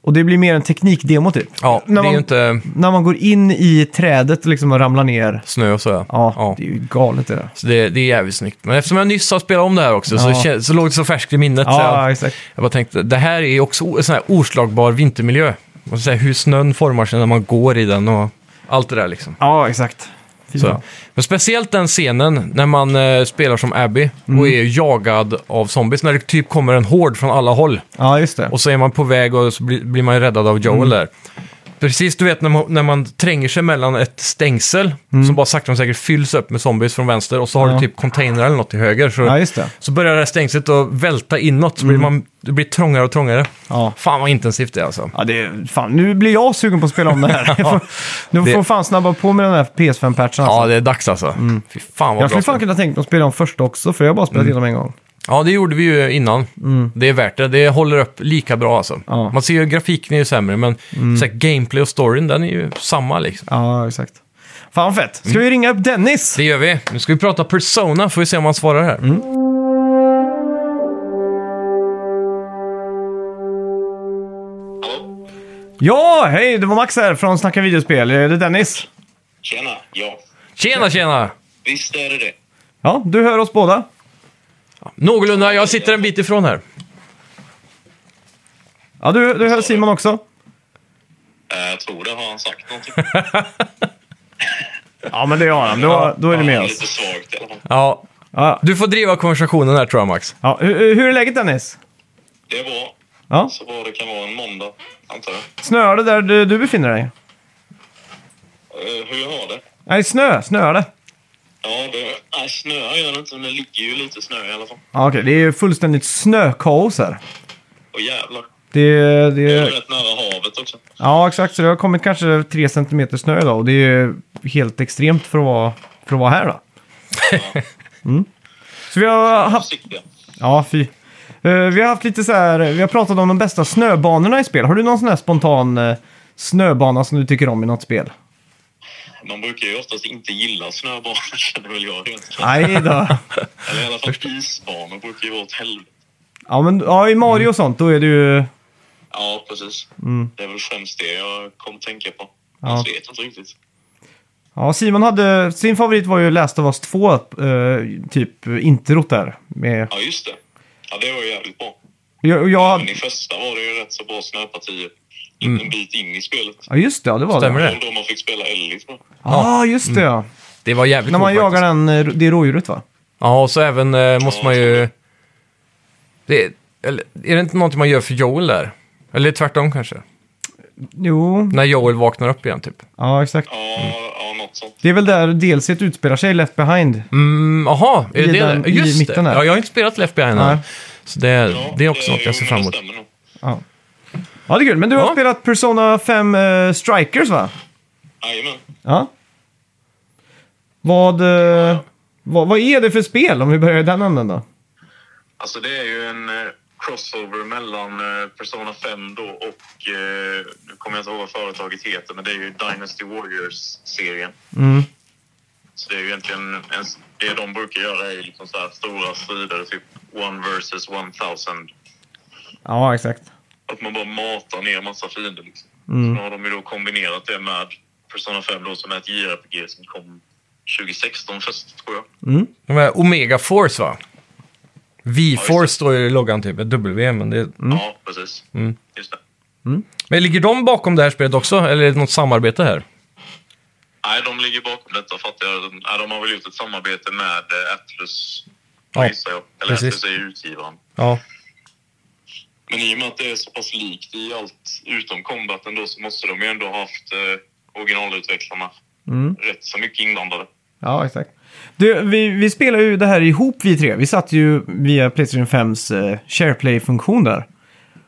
B: Och det blir mer en teknikdemo typ.
A: Ja,
B: när,
A: det är
B: man,
A: ju inte
B: när man går in i trädet liksom och ramlar ner.
A: snö och så. Ja.
B: Ja, det är ju galet det där.
A: Så det, det är jävligt snyggt. Men eftersom jag nyss har spelat om det här också så,
B: Ja.
A: kän- så låg det så färskt i minnet. så
B: Ja,
A: jag,
B: exakt.
A: jag bara tänkte, det här är ju också o- en sån här oslagbar vintermiljö. Och så här, hur snön formar sig när man går i den och allt det där liksom.
B: Ja, exakt. Fy
A: Så.
B: fan.
A: Men speciellt den scenen när man eh, spelar som Abby
B: Mm.
A: och är jagad av zombies. När det typ kommer en hord från alla håll.
B: Ja, just det.
A: Och så är man på väg och så blir, blir man ju räddad av
B: Mm.
A: Joel där. Precis, du vet när man, när man tränger sig mellan ett stängsel som bara sakta men säkert fylls upp med zombies från vänster och så har
B: Mm. Ja.
A: du typ container eller något till höger. Så,
B: Ja, just det. Mm.
A: så börjar det här stängslet att välta inåt så blir man, det blir trångare och trångare.
B: Ja.
A: Fan vad intensivt det är alltså.
B: Ja, det är, fan, nu blir jag sugen på att spela om
A: <laughs>
B: det här. Jag får- Nu
A: det-
B: får fan snabba på med den här PS5-patchen. Alltså.
A: Ja, det är dags alltså. Fy fan vad
B: jag
A: bra.
B: skulle fan
A: spel. Mm.
B: kunna tänka mig att spela om första också, för jag har bara spelat igenom en gång.
A: Ja, det gjorde vi ju innan. Det är värt det. Det håller upp lika bra alltså.
B: Mm. Ja. Mm.
A: Man ser ju grafiken är ju sämre, men så här, gameplay och storyn, den är ju samma liksom.
B: Ja, exakt. Fan fett. Ska
A: Mm.
B: vi ringa upp Dennis?
A: Det gör vi. Nu ska vi prata Persona, får vi se om han svarar här.
B: Mm.
D: Hallå?
B: Ja, hej! Det var Max här från Snacka videospel. Är det Dennis?
D: Tjena, ja.
A: Tjena, tjena!
D: Visst är det det.
B: Ja, du hör oss båda.
A: Någorlunda, jag sitter en bit ifrån här.
B: Ja, du, du hör Simon också.
D: Eh, Jag tror det. Har han sagt någonting?
B: Ja, men det har han. Då, då <laughs> är det med oss.
D: Lite svagt i alla fall.
A: Ja,
B: Ja,
A: du får driva konversationen här tror jag Max.
B: ja, hur, hur är läget Dennis?
D: Det är bra.
B: Ja,
D: Så bra det kan vara en måndag, antar jag.
B: snöar det där du, du befinner dig?
D: Eh, Hur jag har det?
B: Nej, snö. Snöar det?
D: Ja, det... Nej, snöar gör det inte, men det ligger ju lite snö i alla fall.
B: Ja, okej. Det är ju fullständigt snökaos här.
D: Och jävlar.
B: Det,
D: Det är
B: det,
D: rätt nära havet också.
B: ja, exakt. Så det har kommit kanske tre centimeter snö idag och det är ju helt extremt för att vara, för att vara här <laughs> då. Mm. Så vi har haft...
D: Försiktiga.
B: Ja, fy. Eh, vi har haft lite så här... Vi har pratat om de bästa snöbanorna i spel. Har du någon sån här spontan eh, snöbana som du tycker om i något <laughs> spel?
D: Man brukar ju oftast inte gilla snöbanor, <laughs> känner väl jag rent.
B: Nej då.
D: Eller i alla fall isbanor brukar ju vara åt helvete.
B: Ja, men ja, i Mario och sånt, då är det ju...
D: Ja, precis. Det är väl främst det jag kom att tänka på.
B: Mm. Ja.
D: Jag vet inte riktigt.
B: Ja, Simon hade... Sin favorit var ju Last of Us 2, eh, typ introt där. Med,
D: Ja, just det. Ja, det var ju jävligt bra.
B: jag,
D: Men
B: jag,
D: i första var det ju rätt så bra snöpartier.
A: Mm.
D: En bit in i spelet.
B: ja, just det. Ja, det var
A: Stämmer
B: det.
A: det?
D: Det var då man fick spela Ellie, tror jag.
B: Ja, ah, just det. Ja.
A: Det var jävligt
B: När man
A: coolt,
B: jagar
A: faktiskt.
B: den, eh, det rådjuret, va?
A: Ja, och så även eh, måste man ju... Det är, eller, är det inte någonting man gör för Joel där? Eller tvärtom kanske?
B: Jo,
A: När Joel vaknar upp igen typ.
B: ja, exakt.
D: Ja,
A: Mm.
D: ja något sånt.
B: Det är väl där DLC utspelar sig, Left Behind.
A: Mm, aha, är
B: I
A: det det?
B: den-
A: där?
B: i
A: Just
B: mitten
A: det.
B: där.
A: Ja, jag har inte spelat Left Behind än.
B: Nej.
A: Så det,
D: Ja,
A: det är också något
D: jo,
A: jag ser
D: men
A: fram
D: det
A: emot.
D: stämmer nog.
B: Ja. ja, det är kul. Men du har
A: Ja.
B: spelat Persona 5 eh, Strikers, va?
D: Jajamän.
B: Ja. Vad, eh, vad, vad är det för spel, om vi börjar i den änden då?
D: Alltså det är ju en eh, crossover mellan eh, Persona 5 då och, eh, nu kommer jag inte ihåg vad företaget heter, men det är ju Dynasty Warriors-serien.
B: Mm.
D: Så det är ju egentligen, en, det de brukar göra är liksom så här stora strider, typ one versus 1000.
B: Ja, exakt.
D: Att man bara matar ner massa fiender liksom. Så nu har de ju då kombinerat det med Persona 5 då som är ett JRPG som kom 2016 först tror jag.
A: De här Omega Force va?
D: Ja,
A: V-Force
D: just
A: står ju i loggan typ, ett W men det...
D: Ja, precis.
A: Mm.
D: Just det.
A: Men ligger de bakom det här spelet också? Eller är det något samarbete här?
D: Nej, de ligger bakom detta fattar jag. De, nej, de har väl gjort ett samarbete med eh, Atlus,
A: Ja,
D: gissar jag. Eller
A: precis.
D: Atlus är ju utgivaren.
A: Ja.
D: Men i och med att det är så pass likt i allt utom combaten då så måste de ju ändå ha haft eh, originalutvecklarna rätt så mycket inblandade.
B: Ja, exakt. Du, vi, vi spelar ju det här ihop vi tre. Vi satt ju via Playstation 5s eh, SharePlay-funktion där.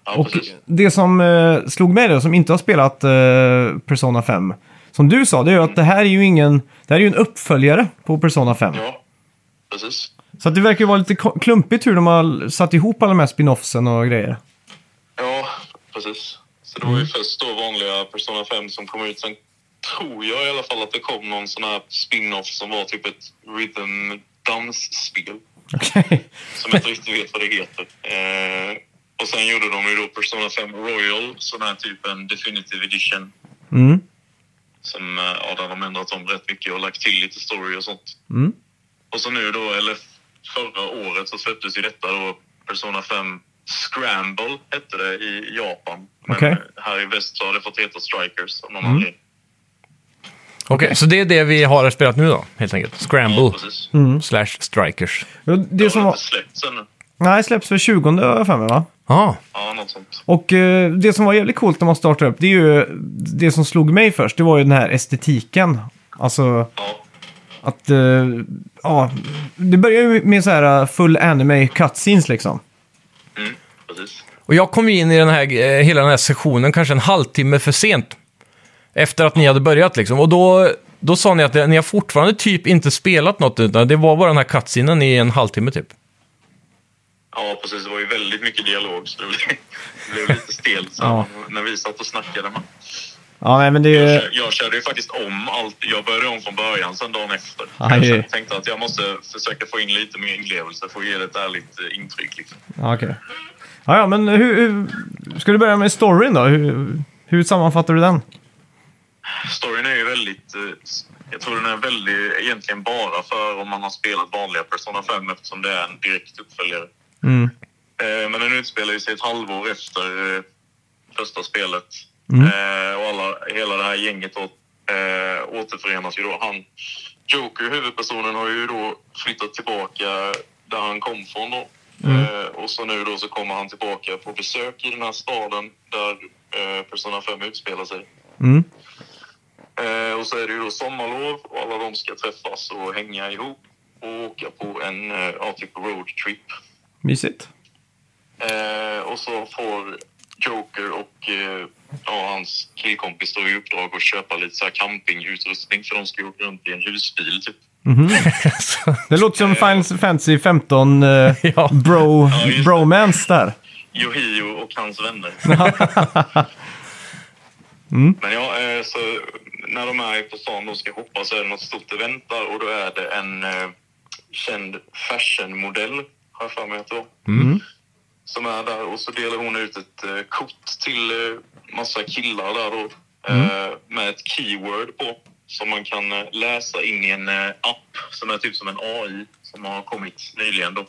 D: Ja,
B: Och
D: precis.
B: det som eh, slog mig då, som inte har spelat eh, Persona 5, som du sa, det är ju att det här är ju ingen... Det här är ju en uppföljare på Persona 5.
D: Ja, precis.
B: Så att det verkar ju vara lite ko- klumpigt hur de har satt ihop alla de här spinoffsen och
D: <laughs>
B: grejer.
D: Ja, precis. Så det var ju först då vanliga Persona 5 som kom ut. Sen tror jag i alla fall att det kom någon sån här spin-off som var typ ett rhythm dance-spel.
B: Okej.
D: som jag inte riktigt vet vad det heter. Eh, och sen gjorde de ju då Persona 5 Royal, sån här typ en definitive edition.
B: Mm.
D: Som, eh, ja, där de ändrat om rätt mycket och lagt till lite story och sånt.
B: Mm.
D: Och så nu då, eller förra året så släpptes ju detta då, Persona 5 Scramble hette det i Japan. Men
B: Okej. Mm.
D: eh, här i väst så har det fått heta Strikers av någon anledning.
A: Okej, så det är det vi har spelat nu då, helt enkelt. Scramble
D: Ja, precis.
A: slash Strikers.
B: Och Mm. Det
D: Det
B: som
D: har
B: var...
D: inte släppts ännu.
B: Nej, släpps för 20 har jag för mig, va?
A: Ja,
D: Ja, något sånt.
B: Och eh, det som var jävligt coolt när man startade upp, det är ju det som slog mig först, det var ju den här estetiken. Alltså
D: Ja,
B: att, eh, ja, det börjar ju med så här eh, full anime cutscenes liksom.
D: mm, precis.
A: och jag kom ju in i den här, eh, hela den här sessionen kanske en halvtimme för sent. Efter att ni hade börjat liksom. Och då, då sa ni att ni har fortfarande typ inte spelat något, utan det var bara den här cutscenen i en halvtimme typ. <laughs>
D: Ja, precis. Det var ju väldigt mycket dialog, så det blev, det blev lite stelt sen
B: Ja. Eh.
D: när vi satt och snackade. Man.
B: Ja, nej men det är
D: Jag,
B: ju...
D: kö- jag körde ju faktiskt om allt. Jag började om från början sen dagen efter.
B: Aj.
D: Jag tänkte att jag måste försöka få in lite mer inlevelse för att ge det ett ärligt eh, intryck. Liksom.
B: Ja, okej. Ja, ja, men hur, hur... Ska du börja med storyn då? Hur, hur sammanfattar du den?
D: Storyn är ju väldigt väldigt... eh, Jag tror den är väldigt, egentligen bara för om man har spelat vanliga Persona 5 eftersom det är en direkt uppföljare.
B: Mm.
D: Eh, Men den utspelar ju sig ett halvår efter eh, första spelet. Eh, Och alla, hela det här gänget då, eh, återförenas ju då. Han, Joker, huvudpersonen, har ju då flyttat tillbaka där han kom från då. Eh, Och så nu då så kommer han tillbaka på besök i den här staden där eh, Persona 5 utspelar sig.
B: Mm.
D: Eh, och så är det ju då sommarlov och alla de ska träffas och hänga ihop och åka på en eh, ja, typ roadtrip.
B: Mysigt.
D: Eh, och så får Joker och eh, ja, hans killkompis då i uppdrag att köpa lite så här campingutrustning för de ska åka runt i en husbil typ.
A: Så-
B: Det låter som Final Fantasy 15 <laughs> eh,
A: Ja.
B: bro,
D: just det.
B: bromance där.
D: Yohio och hans vänner. Men ja, eh, så när de är på stan och ska hoppa så är det något stort event där och då är det en eh, känd fashionmodell, har jag för mig att det var, som är där och så delar hon ut ett eh, kort till eh, massa killar där då eh, med ett keyword på som man kan eh, läsa in i en eh, app som är typ som en AI som har kommit nyligen då.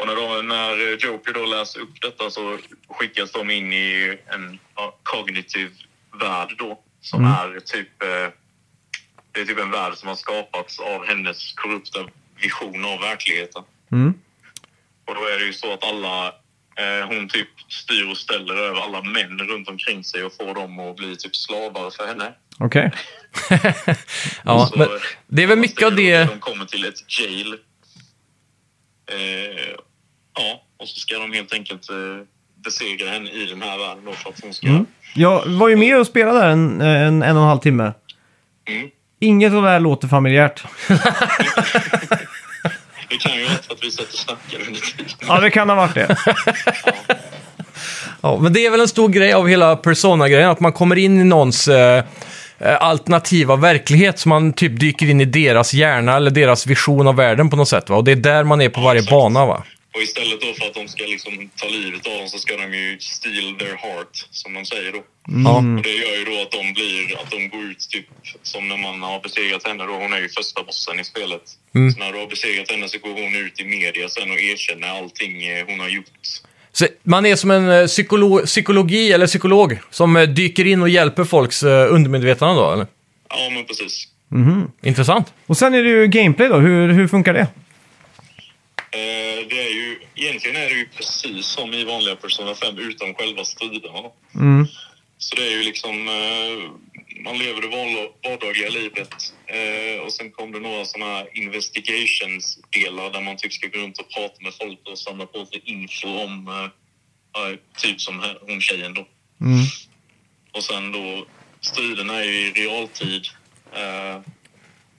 D: Och när, de, när Joker då läser upp detta så skickas de in i en ja, kognitiv värld då. Som är typ... eh, Det är typ en värld som har skapats av hennes korrupta vision av verkligheten. Och då är det ju så att alla... Eh, hon typ styr och ställer över alla män runt omkring sig och får dem att bli typ slavar för henne.
B: Okej.
A: ja,
D: Så,
A: men det är väl
D: man
A: mycket av
D: säger
A: det...
D: då att De kommer till ett jail. Eh, ja, och så ska de helt enkelt eh, besegra henne i den här världen då för att hon ska...
A: Mm.
B: Jag var ju med och spelade där en, en, en och en halv timme.
D: Mm.
B: Inget av det här låter familjärt.
D: Det kan ju vara att vi satt och snackade under tiden.
B: Ja, det kan ha varit det.
A: Ja, men det är väl en stor grej av hela Persona-grejen, att man kommer in i någons eh, eh, alternativa verklighet, så man typ dyker in i deras hjärna eller deras vision av världen på något sätt. Va? Och det är där man är på varje
D: exakt.
A: bana, va?
D: Och istället då för att de ska liksom ta livet av dem så ska de ju steal their heart, som de säger då.
A: Ja.
D: Och det gör ju då att de blir, att de går ut typ som när man har besegrat henne då, hon är ju första bossen i spelet.
A: Mm.
D: Så när du har besegrat henne så går hon ut i media sen och erkänner allting eh, hon har gjort.
A: Så man är som en eh, psykolo psykologi, eller psykolog, som eh, dyker in och hjälper folks eh, undermedvetna då, eller?
D: Ja, men precis.
A: Intressant.
B: Och sen är det ju gameplay då. Hur, hur funkar det?
D: Eh, det är ju, egentligen är det ju precis som i vanliga Persona 5 utom själva striderna. då. Så det är ju liksom, eh, man lever det vanl- vardagliga livet eh, och sen kom det några sådana här investigations-delar där man typ ska gå runt och prata med folk och samla på sig info om, eh, ja, typ som här- hon tjejen då. Och sen då, striderna är ju i realtid. Eh,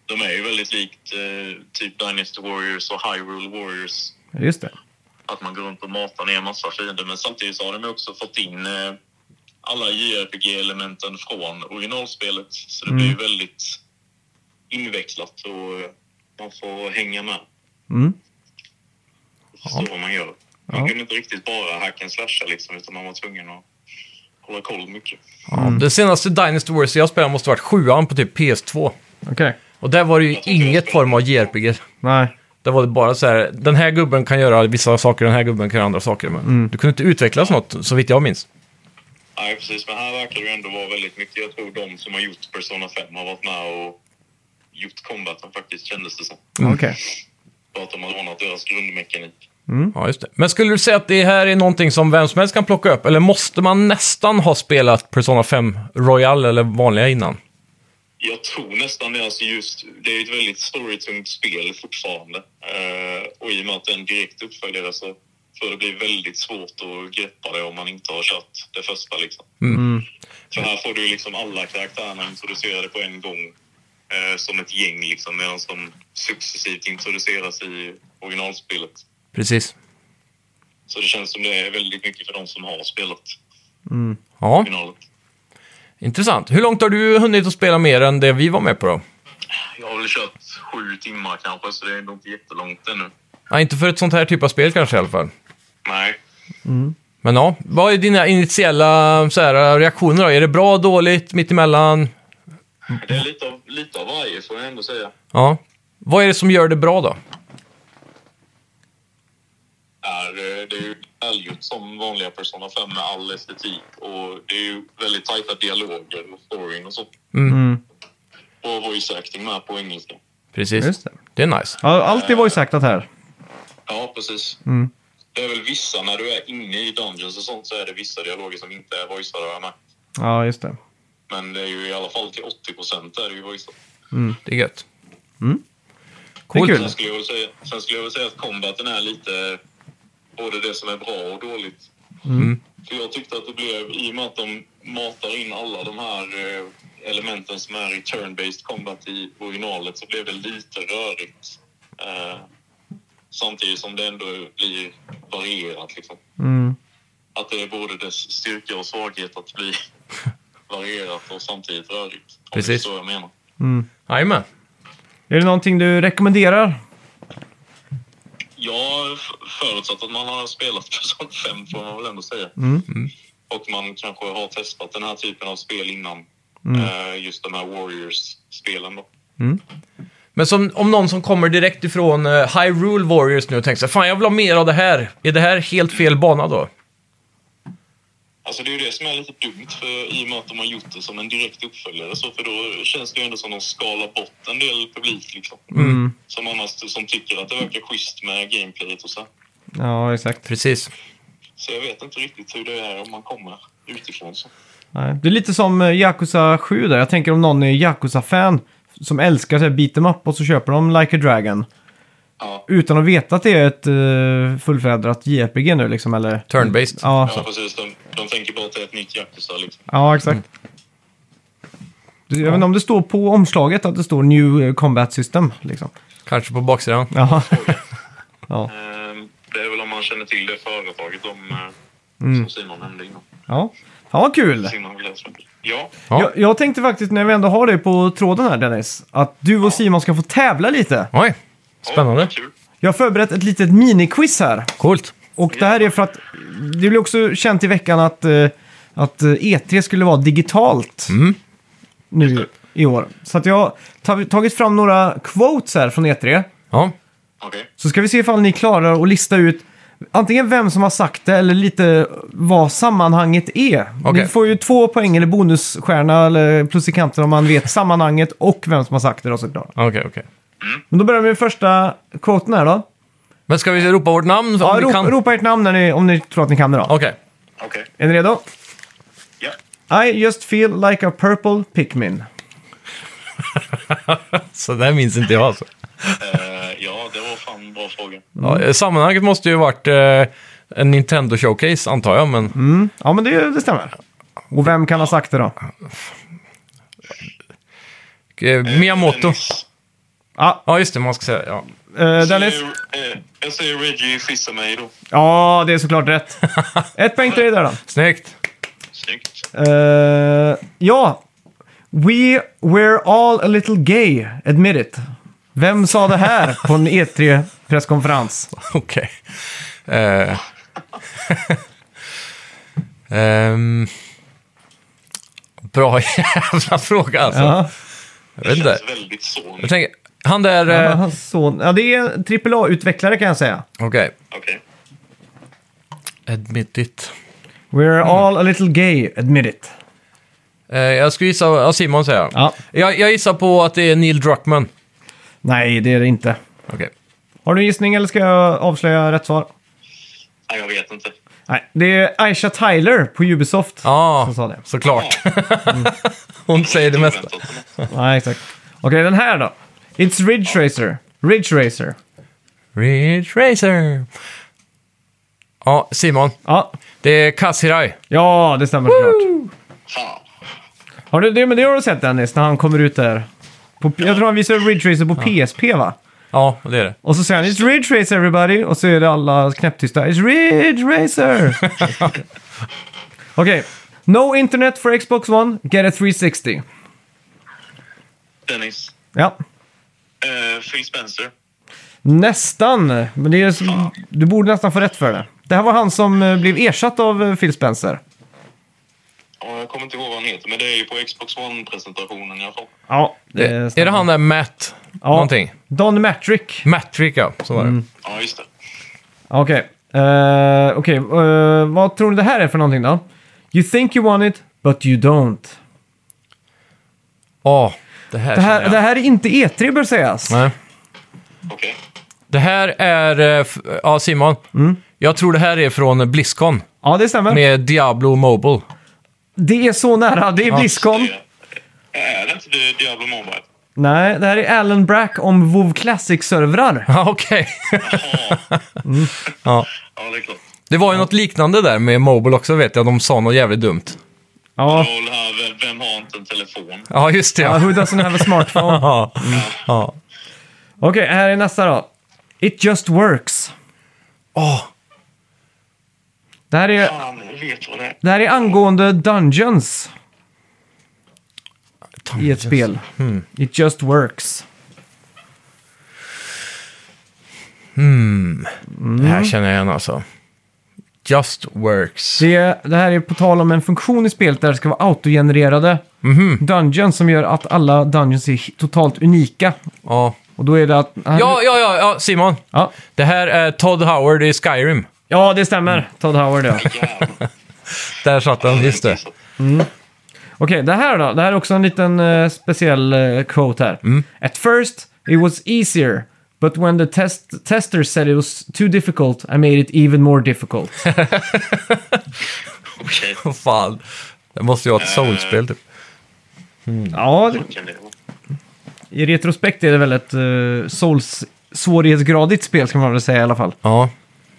D: de är ju väldigt likt eh, typ Dynasty Warriors och Hyrule Warriors.
B: Just det.
D: Att man går runt och matar ner massa fiender. Men samtidigt så har de ju också fått in eh, alla JRPG-elementen från originalspelet. Så det blir ju väldigt invecklat och eh, man får hänga med.
B: Mm.
D: Förstå vad man gör. Man
B: Ja.
D: kunde inte riktigt bara hack and slasha liksom, utan man var tvungen att hålla koll mycket.
A: Ja, Det Mm. senaste Dynasty Warriors jag spelade måste ha varit sjuan på typ PS2.
B: Okej.
A: Och där var det ju
D: Jag tycker jag
A: inget
D: spelar-
A: form av JRPG.
B: Nej.
A: Där var det bara så här, den här gubben kan göra vissa saker, den här gubben kan göra andra saker. Men du kunde inte utvecklas något, så vitt jag minns.
D: Nej, precis. Men här verkar det ändå vara väldigt mycket. Jag tror de som har gjort Persona 5 har varit med och gjort combaten faktiskt, kändes det som.
B: Okej.
D: För att de har ordnat deras grundmekanik.
A: Ja, just det. Men skulle du säga att det här är någonting som vem som helst kan plocka upp? Eller måste man nästan ha spelat Persona 5 Royal eller vanliga innan?
D: Jag tror nästan det. Alltså just, det är ett väldigt storytungt spel fortfarande. Eh, och i och med att det är en direkt uppföljare så tror jag det blir väldigt svårt att greppa det om man inte har kört det första. Liksom. För här får du ju liksom alla karaktärerna introducerade på en gång eh, som ett gäng liksom, medan de successivt introduceras i originalspelet.
A: Precis.
D: Så det känns som det är väldigt mycket för de som har spelat
A: Ja,
D: originalet.
A: intressant. Hur långt har du hunnit att spela mer än det vi var med på då?
D: Jag har väl kört sju timmar kanske, så det är nog inte jättelångt ännu.
A: Ja, inte för ett sånt här typ av spel kanske i alla fall.
D: Nej,
A: Men ja, vad är dina initiella så här, reaktioner då? Är det bra, dåligt, mittemellan?
D: Det är lite av, lite av varje får jag ändå säga.
A: Ja. Vad är det som gör det bra då?
D: är, eh, det är ju välgjort som vanliga Persona 5 med all estetik och det är ju väldigt tajta dialoger och storyn och så. Och voice acting med på engelska.
A: Precis.
B: Just det.
A: det är nice.
B: Ja, allt är voice-actat här.
D: Ja, precis. Det är väl vissa, när du är inne i Dungeons och sånt så är det vissa dialoger som inte är voiceade med.
B: Ja, just det.
D: Men det är ju i alla fall till 80 procent är det ju voiceat.
A: Det är gött.
B: Det är
A: Coolt.
B: kul.
D: Sen skulle, jag väl säga, sen skulle jag väl säga att combaten är lite både det som är bra och dåligt.
B: Mm.
D: För jag tyckte att det blev, i och med att de matar in alla de här eh, elementen som är i turn-based combat i originalet så blev det lite rörigt. Eh, samtidigt som det ändå blir varierat liksom.
B: Mm.
D: Att det är både dess styrka och svaghet att bli <laughs> varierat och samtidigt rörigt. Om
A: Precis.
D: det är så jag menar.
A: Jajamän.
B: Är det någonting du rekommenderar?
D: Ja, f- förutsatt att man har spelat <laughs> Persona 5 får man väl ändå säga. Och man kanske har testat den här typen av spel innan. Eh, just de här Warriors-spelen då.
A: Men som, om någon som kommer direkt ifrån eh, Hyrule Warriors nu och tänker sig fan jag vill ha mer av det här. Är det här helt fel bana då?
D: Alltså det är ju det som är lite dumt för, i och med att de har gjort det som en direkt uppföljare. Så för då känns det ju ändå som de skalar bort en del publik liksom. Som annars som tycker att det verkar schysst med gameplayet och så.
B: Ja, exakt.
A: Precis.
D: Så jag vet inte riktigt hur det är om man kommer utifrån så.
B: Nej. Det är lite som eh, Yakuza 7 där. Jag tänker om någon är Yakuza-fan som älskar så här beat em up och så köper de Like a Dragon.
D: Ja,
B: Utan att veta att det är ett uh, fullfjädrat JRPG nu liksom, eller?
A: Turn-based.
B: Ja,
D: ja precis. De, de tänker bara att det är ett nytt Yakuza liksom.
B: ja exakt. Du, jag vet inte om det står på omslaget att det står New eh, Combat System, liksom.
A: Kanske på baksidan.
B: Ja,
D: Eh, Det är väl om man känner till det företaget om, eh,
A: Mm.
D: som Simon nämnde innan.
B: <laughs> ja. Fan vad kul!
D: Simon Glesberg. Ja,
A: Ja.
B: Jag, jag tänkte faktiskt, när vi ändå har dig på tråden här Dennis, att du och Simon ska få tävla lite.
A: Oj. Spännande.
D: Ja, kul.
B: Jag har förberett ett litet miniquiz här.
A: Coolt.
B: Och det här är för att det blev också känt i veckan att, eh, att eh, E3 skulle vara digitalt
A: Mm.
B: nu i år. Så att jag har ta- tagit fram några quotes här från E3.
A: Ja.
D: Okej.
B: Så ska vi se ifall ni klarar att lista ut antingen vem som har sagt det eller lite vad sammanhanget är.
A: Okej.
B: Ni får ju två poäng eller bonusstjärna eller plus i kanten om man vet sammanhanget och vem som har sagt det då såklart.
A: Okej, okej.
B: Men då börjar vi med första quoten här då.
A: Men ska vi ropa vårt namn? om
B: Ja,
A: vi
B: ropa,
A: kan?
B: ropa ert namn när ni, om ni tror att ni kan det då.
A: Okej.
D: Okej.
B: Är ni redo?
D: Ja.
B: I just feel like a purple Pikmin.
A: Så det här minns inte jag alltså.
D: Eh, Ja, det var fan en bra fråga.
A: Ja, eh, sammanhanget måste ju varit eh, en Nintendo Showcase antar jag, men
B: Ja, men det, det stämmer. Och vem kan ha sagt det då?
A: eh, Miyamoto.
D: Dennis.
B: Ja,
A: Ja, just det, man ska säga. Ja.
B: eh, Dennis.
D: Säger- eh, Jag säger Reggie Fissamay då.
B: Ja, det är såklart rätt. Ett poäng till dig där då.
A: Snyggt.
D: Snyggt.
B: Eh, ja. We were all a little gay, admit it. Vem sa det här på en E E3-presskonferens?
A: <laughs> Okej. Eh. <laughs> Ehm. bra <laughs> jävla fråga alltså.
B: Ja,
A: Jag vet inte.
D: Känns väldigt så.
A: Jag tänker, han där...
B: men
A: Eh,
B: hans son. Ja, det är en AAA-utvecklare kan jag säga.
A: Okej.
D: Okej.
A: Admit it.
B: We're all a little gay, admit it.
A: Eh, jag skulle gissa... Ja, Simon säger jag.
B: Ja.
A: jag. Jag gissar på att det är Neil Druckmann.
B: Nej, det är det inte.
A: Okej.
B: Har du en gissning eller ska jag avslöja rätt svar?
D: Nej, jag vet inte.
B: Nej, det är Aisha Tyler på Ubisoft
A: Ja,
B: som sa det. Mm.
A: såklart. <laughs> Hon säger det mesta.
D: Oväntat.
B: Nej, exakt. Okej, den här då. It's Ridge Racer. Ridge Racer.
A: Ridge Racer. Ja, Simon.
B: Ja,
A: Det är Kassirai.
B: ja det stämmer såklart.
D: Fan.
B: Har du, det, men det har du sett Dennis, när han kommer ut där. På, jag tror han visar Ridge Racer på PSP va?
A: Ja, det är det.
B: Och så säger han It's Ridge Racer everybody! Och så är det alla knäpptysta. It's Ridge Racer! Okej. No internet for Xbox One, get a 360.
D: Dennis.
B: Ja.
D: Eh, Phil Spencer.
B: Nästan, men det är, så- du borde nästan få rätt för det. Det här var han som eh, blev ersatt av eh, Phil Spencer.
D: Ja, jag kommer inte ihåg vad han heter, men det är ju på Xbox One-presentationen i alla fall.
B: Ja, det
A: Eh, är,
B: stämmer.
A: det han där Matt
B: ja.
A: någonting?
B: Don Matrick.
A: Mattrick, ja. Så var det.
B: Mm.
D: Ja, just det.
B: Okej. Eh, Okej, eh, vad tror du det här är för någonting då? You think you want it, but you don't.
A: Åh, det här,
B: Det
A: känner
B: här,
A: jag.
B: det här är inte E3 bör sägas.
A: Nej.
D: Okej.
A: Det här är... eh, f- Ja, Simon.
B: Mm.
A: Jag tror det här är från Blizzcon
B: Ja, det stämmer.
A: med Diablo Mobile. <laughs>
B: Det är så nära. Det är Blizzcon.
D: Det är, är det inte det Diablo Mobile?
B: Nej, det här är Alan Brack om WoW Classic-servrar.
A: Ja, <laughs> okej.
B: Mm.
A: ja.
D: Ja, det är klart.
A: Det var ju något liknande där med Mobile också, vet jag. De sa något jävligt dumt.
B: Ja.
D: Roll här, vem- vem har inte en telefon?
A: Ja, just det.
B: Ja,
A: Ja.
B: who doesn't have a smartphone?
A: <laughs> Ja. Ja.
B: Okej, här är nästa då. It just works.
A: Åh,
B: Det här är,
D: Fan, jag vet vad det är.
B: det här är angående Dungeons i ett spel.
A: Hmm.
B: It just works.
A: Det
B: Mm.
A: här känner jag igen alltså. Just works.
B: Det, det här är på tal om en funktion i spelet där det ska vara autogenererade
A: Mhm.
B: dungeons som gör att alla dungeons är he- totalt unika.
A: Ja.
B: Och då är det att...
A: Ja, ja, ja, ja, Simon.
B: ja.
A: Det här är Todd Howard i Skyrim.
B: Ja, det stämmer. Todd Howard, ja.
D: Jävlar.
A: Där satt den, just det.
B: Okej, det här då. Det här är också en liten eh, speciell eh, quote här.
A: Mm.
B: At first it was easier, but when the test tester said it was too difficult, I made it even more
A: <laughs>
B: difficult.
D: Okej,
A: Vad fan. Det måste ju vara ett soulspel typ.
B: ja, det-
D: kan det vara.
B: i retrospekt är det väl ett eh, souls svårighetsgradigt spel ska man väl säga i alla fall.
A: Ja.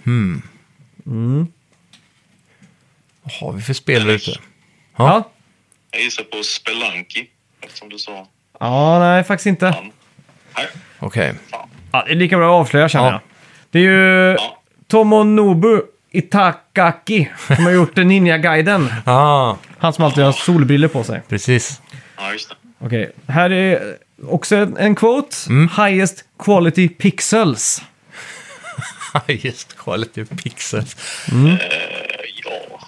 A: Hmm. Mm. Vad har vi för spel där ute?
B: Ja.
D: Jag gissar på Spelunky, eftersom du sa
B: Ja, nej faktiskt inte.
D: han. Nej,
A: Okej.
B: Ja, det är lika bra att avslöja känner
A: Ja.
B: jag. Det är ju
D: Ja.
B: Tomonobu Itakaki som har gjort Ninja-guiden.
A: Ah,
B: Han som alltid har solbriller på sig.
A: <laughs> precis.
D: ja, just det.
B: Okej, här är också en, en quote.
A: Mm.
B: Highest quality pixels.
A: Highest quality pixels.
D: Eh, ja.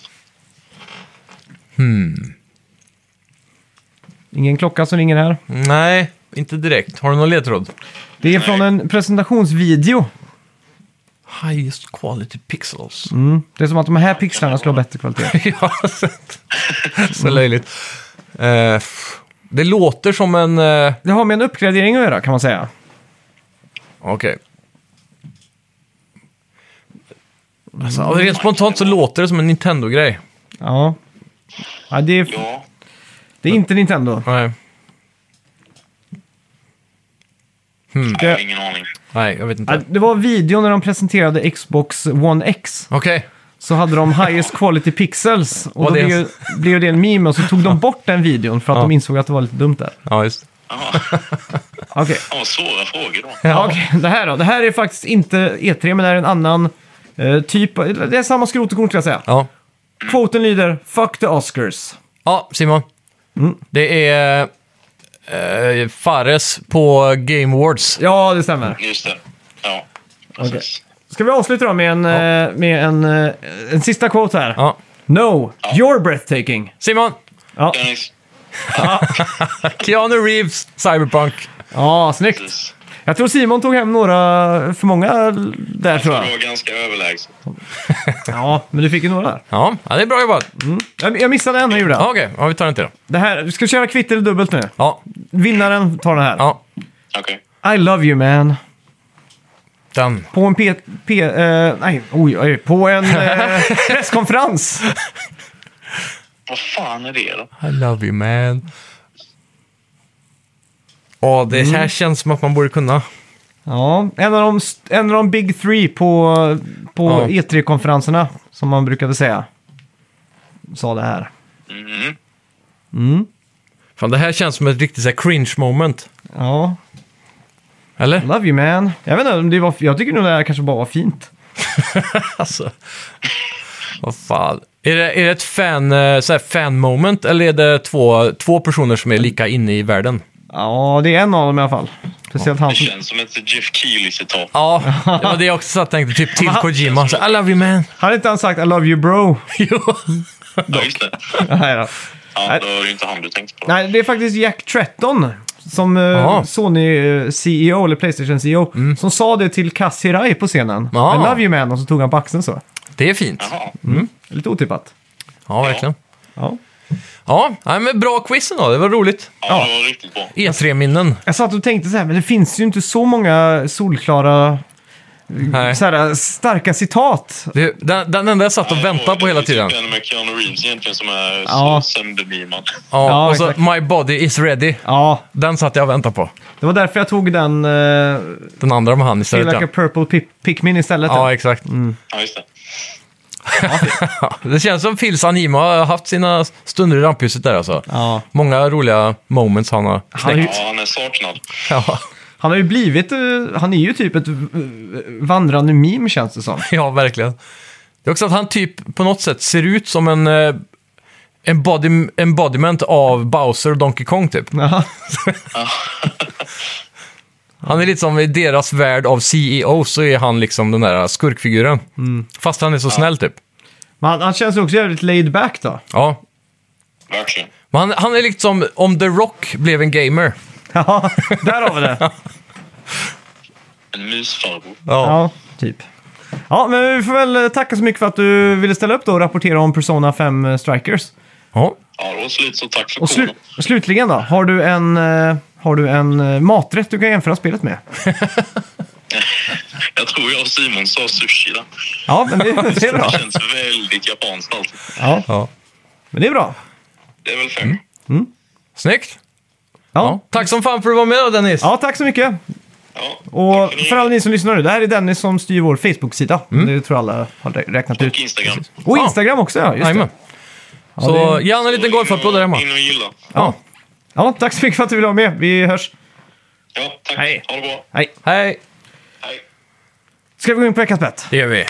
B: Ingen klocka som ringer här.
A: Nej, inte direkt. Har du någon ledtråd?
B: Det är från en presentationsvideo.
A: Highest quality pixels. <laughs>
B: Det är som att de här pixlarna skulle ha bättre kvalitet.
A: Jag har sett. Så löjligt. Eh, f- det låter som en... eh,
B: Det har med en uppgradering att göra kan man säga.
A: Okej. Alltså, rent spontant så låter det som en Nintendo-grej.
B: Ja. ja det, är,
D: Ja.
B: det är inte Nintendo.
A: Nej,
D: Jag har ingen aning.
A: nej, jag vet inte.
B: Ja, det var videon när de presenterade Xbox One X.
A: Okej.
B: Så hade de highest quality pixels. Och då
A: Vad det är-
B: blev, ju- blev det en meme och så tog de bort den videon för att
A: Ja.
B: de insåg att det var lite dumt där.
A: Ja, just
D: Jaha.
B: Okej.
D: Ja, vad svåra frågor då.
B: Ja. Okej, det här då. Det här är faktiskt inte E3, men det här är en annan eh, typ. av- Det är samma skrot och korn, skulle jag säga.
A: Ja.
B: Kvoten lyder “Fuck the Oscars”.
A: Ja, Simon. Mm. Det är eh, Fares på Game Awards.
B: Ja, det stämmer.
D: Just det. Ja, precis.
B: Ska vi avsluta då med en, eh, med en, eh, en sista quote här?
A: Ja.
B: No, you're breathtaking.
A: Simon!
B: Ja,
D: Dennis,
A: Keanu Reeves, Cyberpunk.
B: ja snyggt.
D: precis.
B: Jag tror Simon tog hem några för många där, tror
D: Du
B: jag.
D: var ganska överlägsen.
B: Ja, men du fick ju några. där.
A: Ja, ja det är bra jobbat.
B: Jag, jag missade en, jag gjorde.
A: Ja,
B: jag.
A: Okej, ja, vi tar den till då.
B: Det här, du ska köra kvitt eller dubbelt nu.
A: Ja,
B: Vinnaren tar den här.
A: ja.
D: Okej.
B: I love you man.
A: Den.
B: På en P... P eh, nej, oj, oj, på en <laughs> eh, presskonferens.
D: Vad fan är det då?
A: I love you man. Ja, det här känns som att man borde kunna.
B: Ja, en av de, st- en av de big three på, på
A: Ja.
B: E3-konferenserna, som man brukade säga. Sa det här.
D: Mhm.
A: Fan, det här känns som ett riktigt så här, cringe moment.
B: Ja,
A: Eller?
B: love you man. Jag vet inte, om det var, jag tycker nog det här kanske bara var fint.
A: <laughs> Alltså. Vad fan. Är det, är det ett fan, eh, så här, fan moment eller är det två, två personer som är lika inne i världen?
B: Ja, det är en av dem i alla fall. Speciellt han
D: Det
B: som...
D: känns som ett Jeff Keely-citat.
A: Ja, det
B: <laughs>
A: var det jag också satt och tänkte. Typ till Kojima. Så, I love you man.
B: Hade inte han sagt I love you bro?
A: Jo.
D: Ja, just det.
B: Nej, då.
D: Ja, då var det inte han du tänkte på.
B: Nej, det är faktiskt Jack Tretton som eh,
A: Jaha. Mm.
B: Sony-CEO, E eller Playstation-CEO, som sa det till Cass Hirai på scenen.
A: Ja.
B: I love you man, och så tog han på axeln så.
A: Det är fint.
D: Jaha.
B: Lite otippat.
A: Ja, verkligen.
B: Ja.
A: Ja, nej, men bra quiz då. Det var roligt.
D: Ja, det var riktigt bra.
A: E3-minnen.
B: Jag satt och tänkte så här, men det finns ju inte så många solklara,
A: Nej.
B: så här, starka citat.
A: Det- Den, den enda jag satt och väntade på hela tiden.
D: Det är typ en med Keanu Reeves egentligen som är
B: Ja.
D: ja. söndermimad.
A: Ja,
B: Ja,
A: och så
B: exakt.
A: My body is ready.
B: Ja,
A: Den satt jag och väntade på.
B: det var därför jag tog den uh,
A: Den andra med han
B: Feel
A: istället.
B: Like a
A: Ja,
B: Purple Pi- Pikmin istället.
A: ja exakt.
D: <laughs>
B: Mm.
D: Ja, just det.
A: <laughs> Ja, det känns som Phils anima har haft sina stunder i rampljuset där alltså.
B: Ja.
A: Många roliga moments han har
B: Han, är ju,
A: knäckt.
D: Ja, han är saknad.
A: <laughs> Ja,
B: han har ju blivit, eh, han är ju typ ett eh, vandrande meme känns det som. <laughs>
A: <laughs> ja, verkligen. Det är också att han typ på något sätt ser ut som en eh, embody, embodiment av Bowser och Donkey Kong typ.
B: Ja.
A: Han är lite som i deras värld av CEO så är han liksom den där skurkfiguren.
B: Mm.
A: Fast han är så snäll typ.
B: Men han, han känns ju också jävligt laid back då.
A: Ja.
D: Verkligen.
A: Men han, han är liksom om The Rock blev en gamer.
B: <laughs> Ja, där har vi det.
D: En mysfarbror.
B: Ja, typ. Ja, men vi får väl eh, tacka så mycket för att du ville ställa upp då och rapportera om Persona 5 Strikers.
A: ja.
D: Ja, det var slut så tack för
B: Och slu
D: koden.
B: slutligen då, har du en, eh, har du en eh, maträtt du kan jämföra spelet med?
D: Jag tror jag och Simon sa sushi där.
B: Ja, men det, <laughs> det är bra.
D: Det känns väldigt japanskt alltid.
B: Ja,
A: ja.
B: men det är bra.
D: Det är väl
B: Mm.
D: fair.
A: Snyggt! Ja.
B: Ja.
A: Tack som fan för att du var med då, Dennis.
B: ja, tack så mycket.
D: Ja.
B: Och
D: Tack ni.
B: för alla ni som lyssnar nu, det här är Dennis som styr vår Facebook-sida. Det tror jag alla har rä- räknat
D: Och
B: ut.
D: Instagram.
B: Och Instagram också, Mm. ja. Just det.
A: Jajamän. Så
B: Ja, det-
A: ge han en liten golfapplåd där hemma.
D: In och gilla.
A: Ja.
B: Ja, tack så mycket för att du ville vara med. Vi hörs.
D: Ja, tack.
B: Hej.
D: Ha det bra.
B: Hej.
A: Hej!
D: Hej.
B: Ska vi gå in på veckans bett?
A: Det gör vi.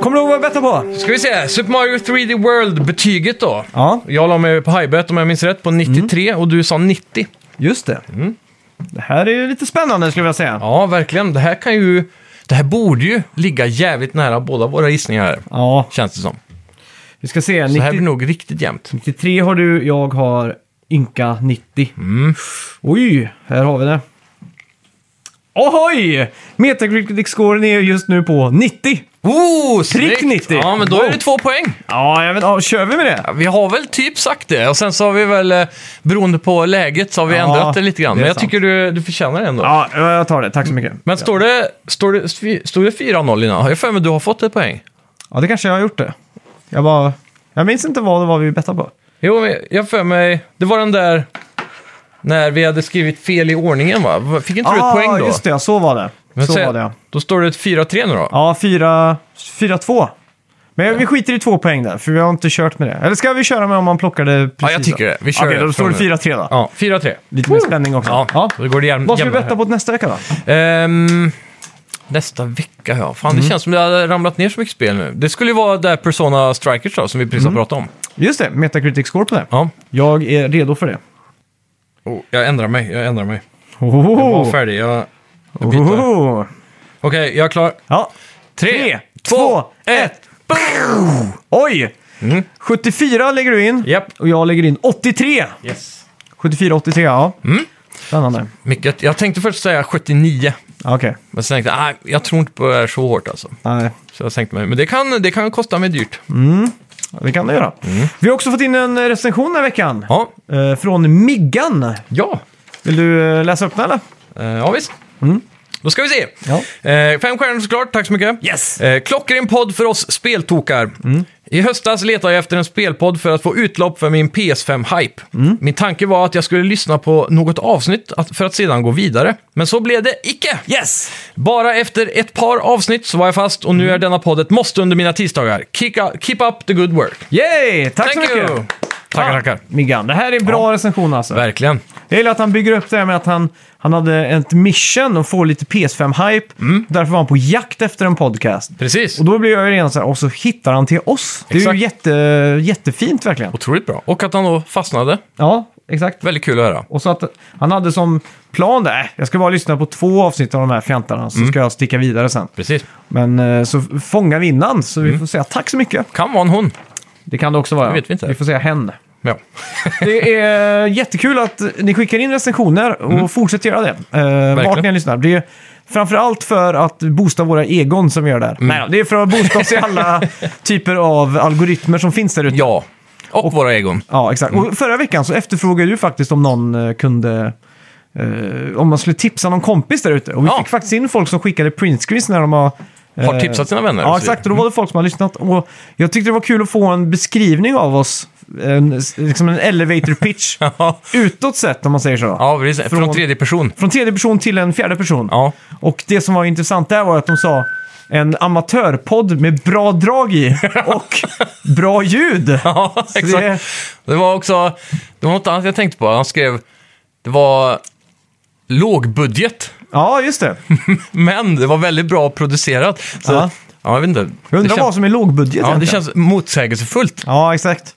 B: Kommer du ihåg vad jag bettade på?
A: Ska vi se, Super Mario 3D World-betyget då.
B: Ja,
A: Jag la mig på highbet om jag minns rätt på
B: Mm.
A: 93 och du sa 90.
B: just det.
A: Mm.
B: Det här är ju lite spännande skulle jag vilja säga.
A: Ja, verkligen. Det här kan ju... Det här borde ju ligga jävligt nära båda våra gissningar här.
B: Ja,
A: Känns det som.
B: vi ska se.
A: Det här blir
B: 90,
A: nog riktigt jämnt.
B: 93 har du, jag har Inka 90.
A: Mm.
B: Oj, här har vi det. Ohoj! Metacritic-scoren är just nu på 90.
A: Oh,
B: Prick
A: snyggt!
B: 90.
A: Ja, men då är det
B: Wow.
A: två poäng.
B: Ja, jag vet, ja, kör vi med det?
A: Vi har väl typ sagt det. Och sen så har vi väl, eh, beroende på läget, så har vi
B: Ja,
A: ändrat det lite grann.
B: det är
A: Men jag
B: sant.
A: tycker du, du förtjänar det ändå.
B: Ja, jag tar det. Tack så mycket.
A: Men står det, står det, står det 4-0 innan? Har jag för mig att du har fått ett poäng?
B: Ja, det kanske jag har gjort det. Jag bara... Jag minns inte vad det var vi bettade på.
A: Jo, men jag har för mig... Det var den där... När vi hade skrivit fel i ordningen va? Fick inte du ett poäng då?
B: Ah, just det. ja, Så var det.
A: Men
B: så
A: säg-
B: var det, ja.
A: Då står det ett 4-3 nu då?
B: Ja, fyra- 4-2. Men vi skiter i två poäng där, för vi har inte kört med det. Eller ska vi köra med om man plockar det precis?
A: Ja, jag tycker det. Vi kör
B: Okej,
A: det
B: då står det
A: från nu.
B: 4-3 då.
A: Ja, 4-3.
B: Lite mer spänning också.
A: Ja,
B: Ja.
A: då går det jäm-
B: Vad ska vi
A: jämnare
B: betta på nästa vecka då?
A: här. Ehm, nästa vecka ja. Fan,
B: Mm.
A: det känns som det har ramlat ner så mycket spel nu. Det skulle ju vara där Persona Strikers då, som vi precis har
B: Mm.
A: pratat om.
B: Just det, Metacritic score på det.
A: Ja.
B: Jag är redo för det.
A: Oh, jag ändrar mig, jag ändrar mig. Jag var
B: Ohoho!
A: färdig, jag... jag byter. Okej,
B: Ohoho!
A: jag är klar.
B: Ja. Tre,
A: Tre, två,
B: två,
A: ett.
B: Oj!
A: Mm.
B: 74 lägger du in.
A: Japp.
B: Och jag lägger in 83.
A: Yes.
B: 74-83, ja.
A: Mm.
B: Spännande.
A: Mycket. Jag tänkte först säga 79,
B: Ja, Okej.
A: men sen tänkte jag, nej, jag tror inte på det här så hårt alltså.
B: Nej,
A: Så jag tänkte mig, men det kan, det kan kosta mig dyrt.
B: Mm. det kan det göra.
A: Mm.
B: Vi har också fått in en recension den här veckan.
A: Ja,
B: Eh, Från Miggan.
A: ja.
B: Vill du eh, läsa upp den eller?
A: Eh, ja visst. Då ska vi se.
B: Mm. Ja.
A: Eh, fem stjärnor såklart, tack så mycket.
B: Yes. Mm.
A: Eh, klockren podd för oss speltokar. I höstas letade jag efter en spelpodd för att få utlopp för min PS5-hype.
B: Mm.
A: Min tanke var att jag skulle lyssna på något avsnitt att, för att sedan gå vidare. Men så blev det icke.
B: Yes!
A: Bara efter ett par avsnitt så var jag fast och nu
B: Mm.
A: är denna podd ett måste under mina tisdagar. Kick up, keep up the good work.
B: Yay! Tack så
A: Thank
B: mycket!
A: you! Tackar, tackar.
B: Miggan. Det här är bra recension alltså.
A: Verkligen.
B: Jag gillar att han bygger upp det här med att han, han hade ett mission och får lite PS5-hype.
A: Mm.
B: Därför var han på jakt efter en podcast.
A: Precis.
B: Och då blir jag ju redan så här, och så hittar han till oss. Det är ju
A: Exakt.
B: jätte, jättefint verkligen.
A: Otroligt bra. Och att han då fastnade.
B: Ja, exakt.
A: Väldigt kul att höra.
B: Och så att han hade som plan där, "Äh, jag ska bara lyssna på två avsnitt av de här fjantarna
A: Mm.
B: så ska jag sticka vidare sen.
A: Precis.
B: Men eh, så fångar vi innan, så vi får säga tack så mycket.
A: Kan vara en hon.
B: Mm. Det kan det också vara.
A: Det vet vi inte.
B: Vi får säga hen. <laughs>
A: Ja.
B: Det är eh, jättekul att ni skickar in recensioner och fortsätt göra det. Eh, vart ni än lyssnar. Det är framför allt för att boosta våra egon som vi gör det här. Nej, det är för att boosta oss i alla <laughs> typer av algoritmer som finns där ute.
A: ja. Och, våra egon.
B: Ja, exakt.
A: Mm.
B: Och förra veckan så efterfrågade du faktiskt om någon eh, kunde... eh, om man skulle tipsa någon kompis där ute. Och vi
A: Ja.
B: fick faktiskt in folk som skickade printscreens när de har... eh,
A: Har tipsat sina vänner
B: Ja,
A: och så vidare. Mm.
B: exakt. Och då var det folk som har lyssnat. Och jag tyckte det var kul att få en beskrivning av oss. En, liksom en elevator pitch.
A: <laughs> Ja,
B: utåt sett, om man säger så.
A: ja precis. Från...
B: Från-
A: tredje person.
B: Från tredje person till en fjärde person.
A: Ja.
B: Och det som var intressant där var att de sa en amatörpodd med bra drag
A: <laughs>
B: i och bra ljud.
A: <laughs> Ja,
B: Så
A: exakt.
B: det-
A: Det... var också... Det var något annat jag tänkte på. Han skrev... Det var lågbudget,
B: Ja, just det.
A: men det var väldigt bra producerat. Så,
B: Ja.
A: ja. jag vet inte.
B: Jag undrar
A: det
B: vad
A: känns,
B: som är lågbudget
A: ja, det
B: egentligen.
A: känns motsägelsefullt.
B: Ja, exakt.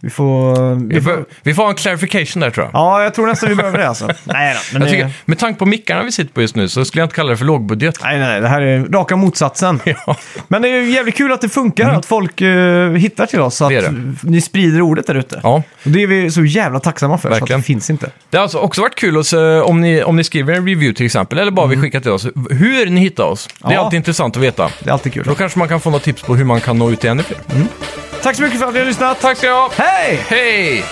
B: Vi får... Vi
A: Vi
B: får...
A: får, vi får ha en clarification där tror jag.
B: Ja, jag tror nästan vi behöver det
A: <laughs>
B: alltså. Nej, då, men det...
A: jag tycker, med tanke på mickarna vi sitter på just nu så skulle jag inte kalla det för lågbudget.
B: Nej, nej, nej, det här är raka motsatsen.
A: <laughs> Ja. Mm.
B: Men det är ju jävligt kul att det funkar, att folk eh, hittar till oss, så att
A: Det är
B: ni sprider ordet där ute.
A: Ja.
B: Och det är vi så jävla tacksamma för, så att
A: Verkligen.
B: det finns inte.
A: Det har alltså också varit kul att se, om, ni, om ni skriver en review till exempel, eller bara vi skickar till oss, hur ni hittar oss. Det är
B: Mm. Ja.
A: alltid intressant att veta.
B: Det är alltid kul.
A: Då kanske man kan få några tips på hur man kan nå ut till ännu fler.
B: Tack så mycket för att ni har lyssnat.
A: Tack ska ni ha!
B: Hej!
A: Hej!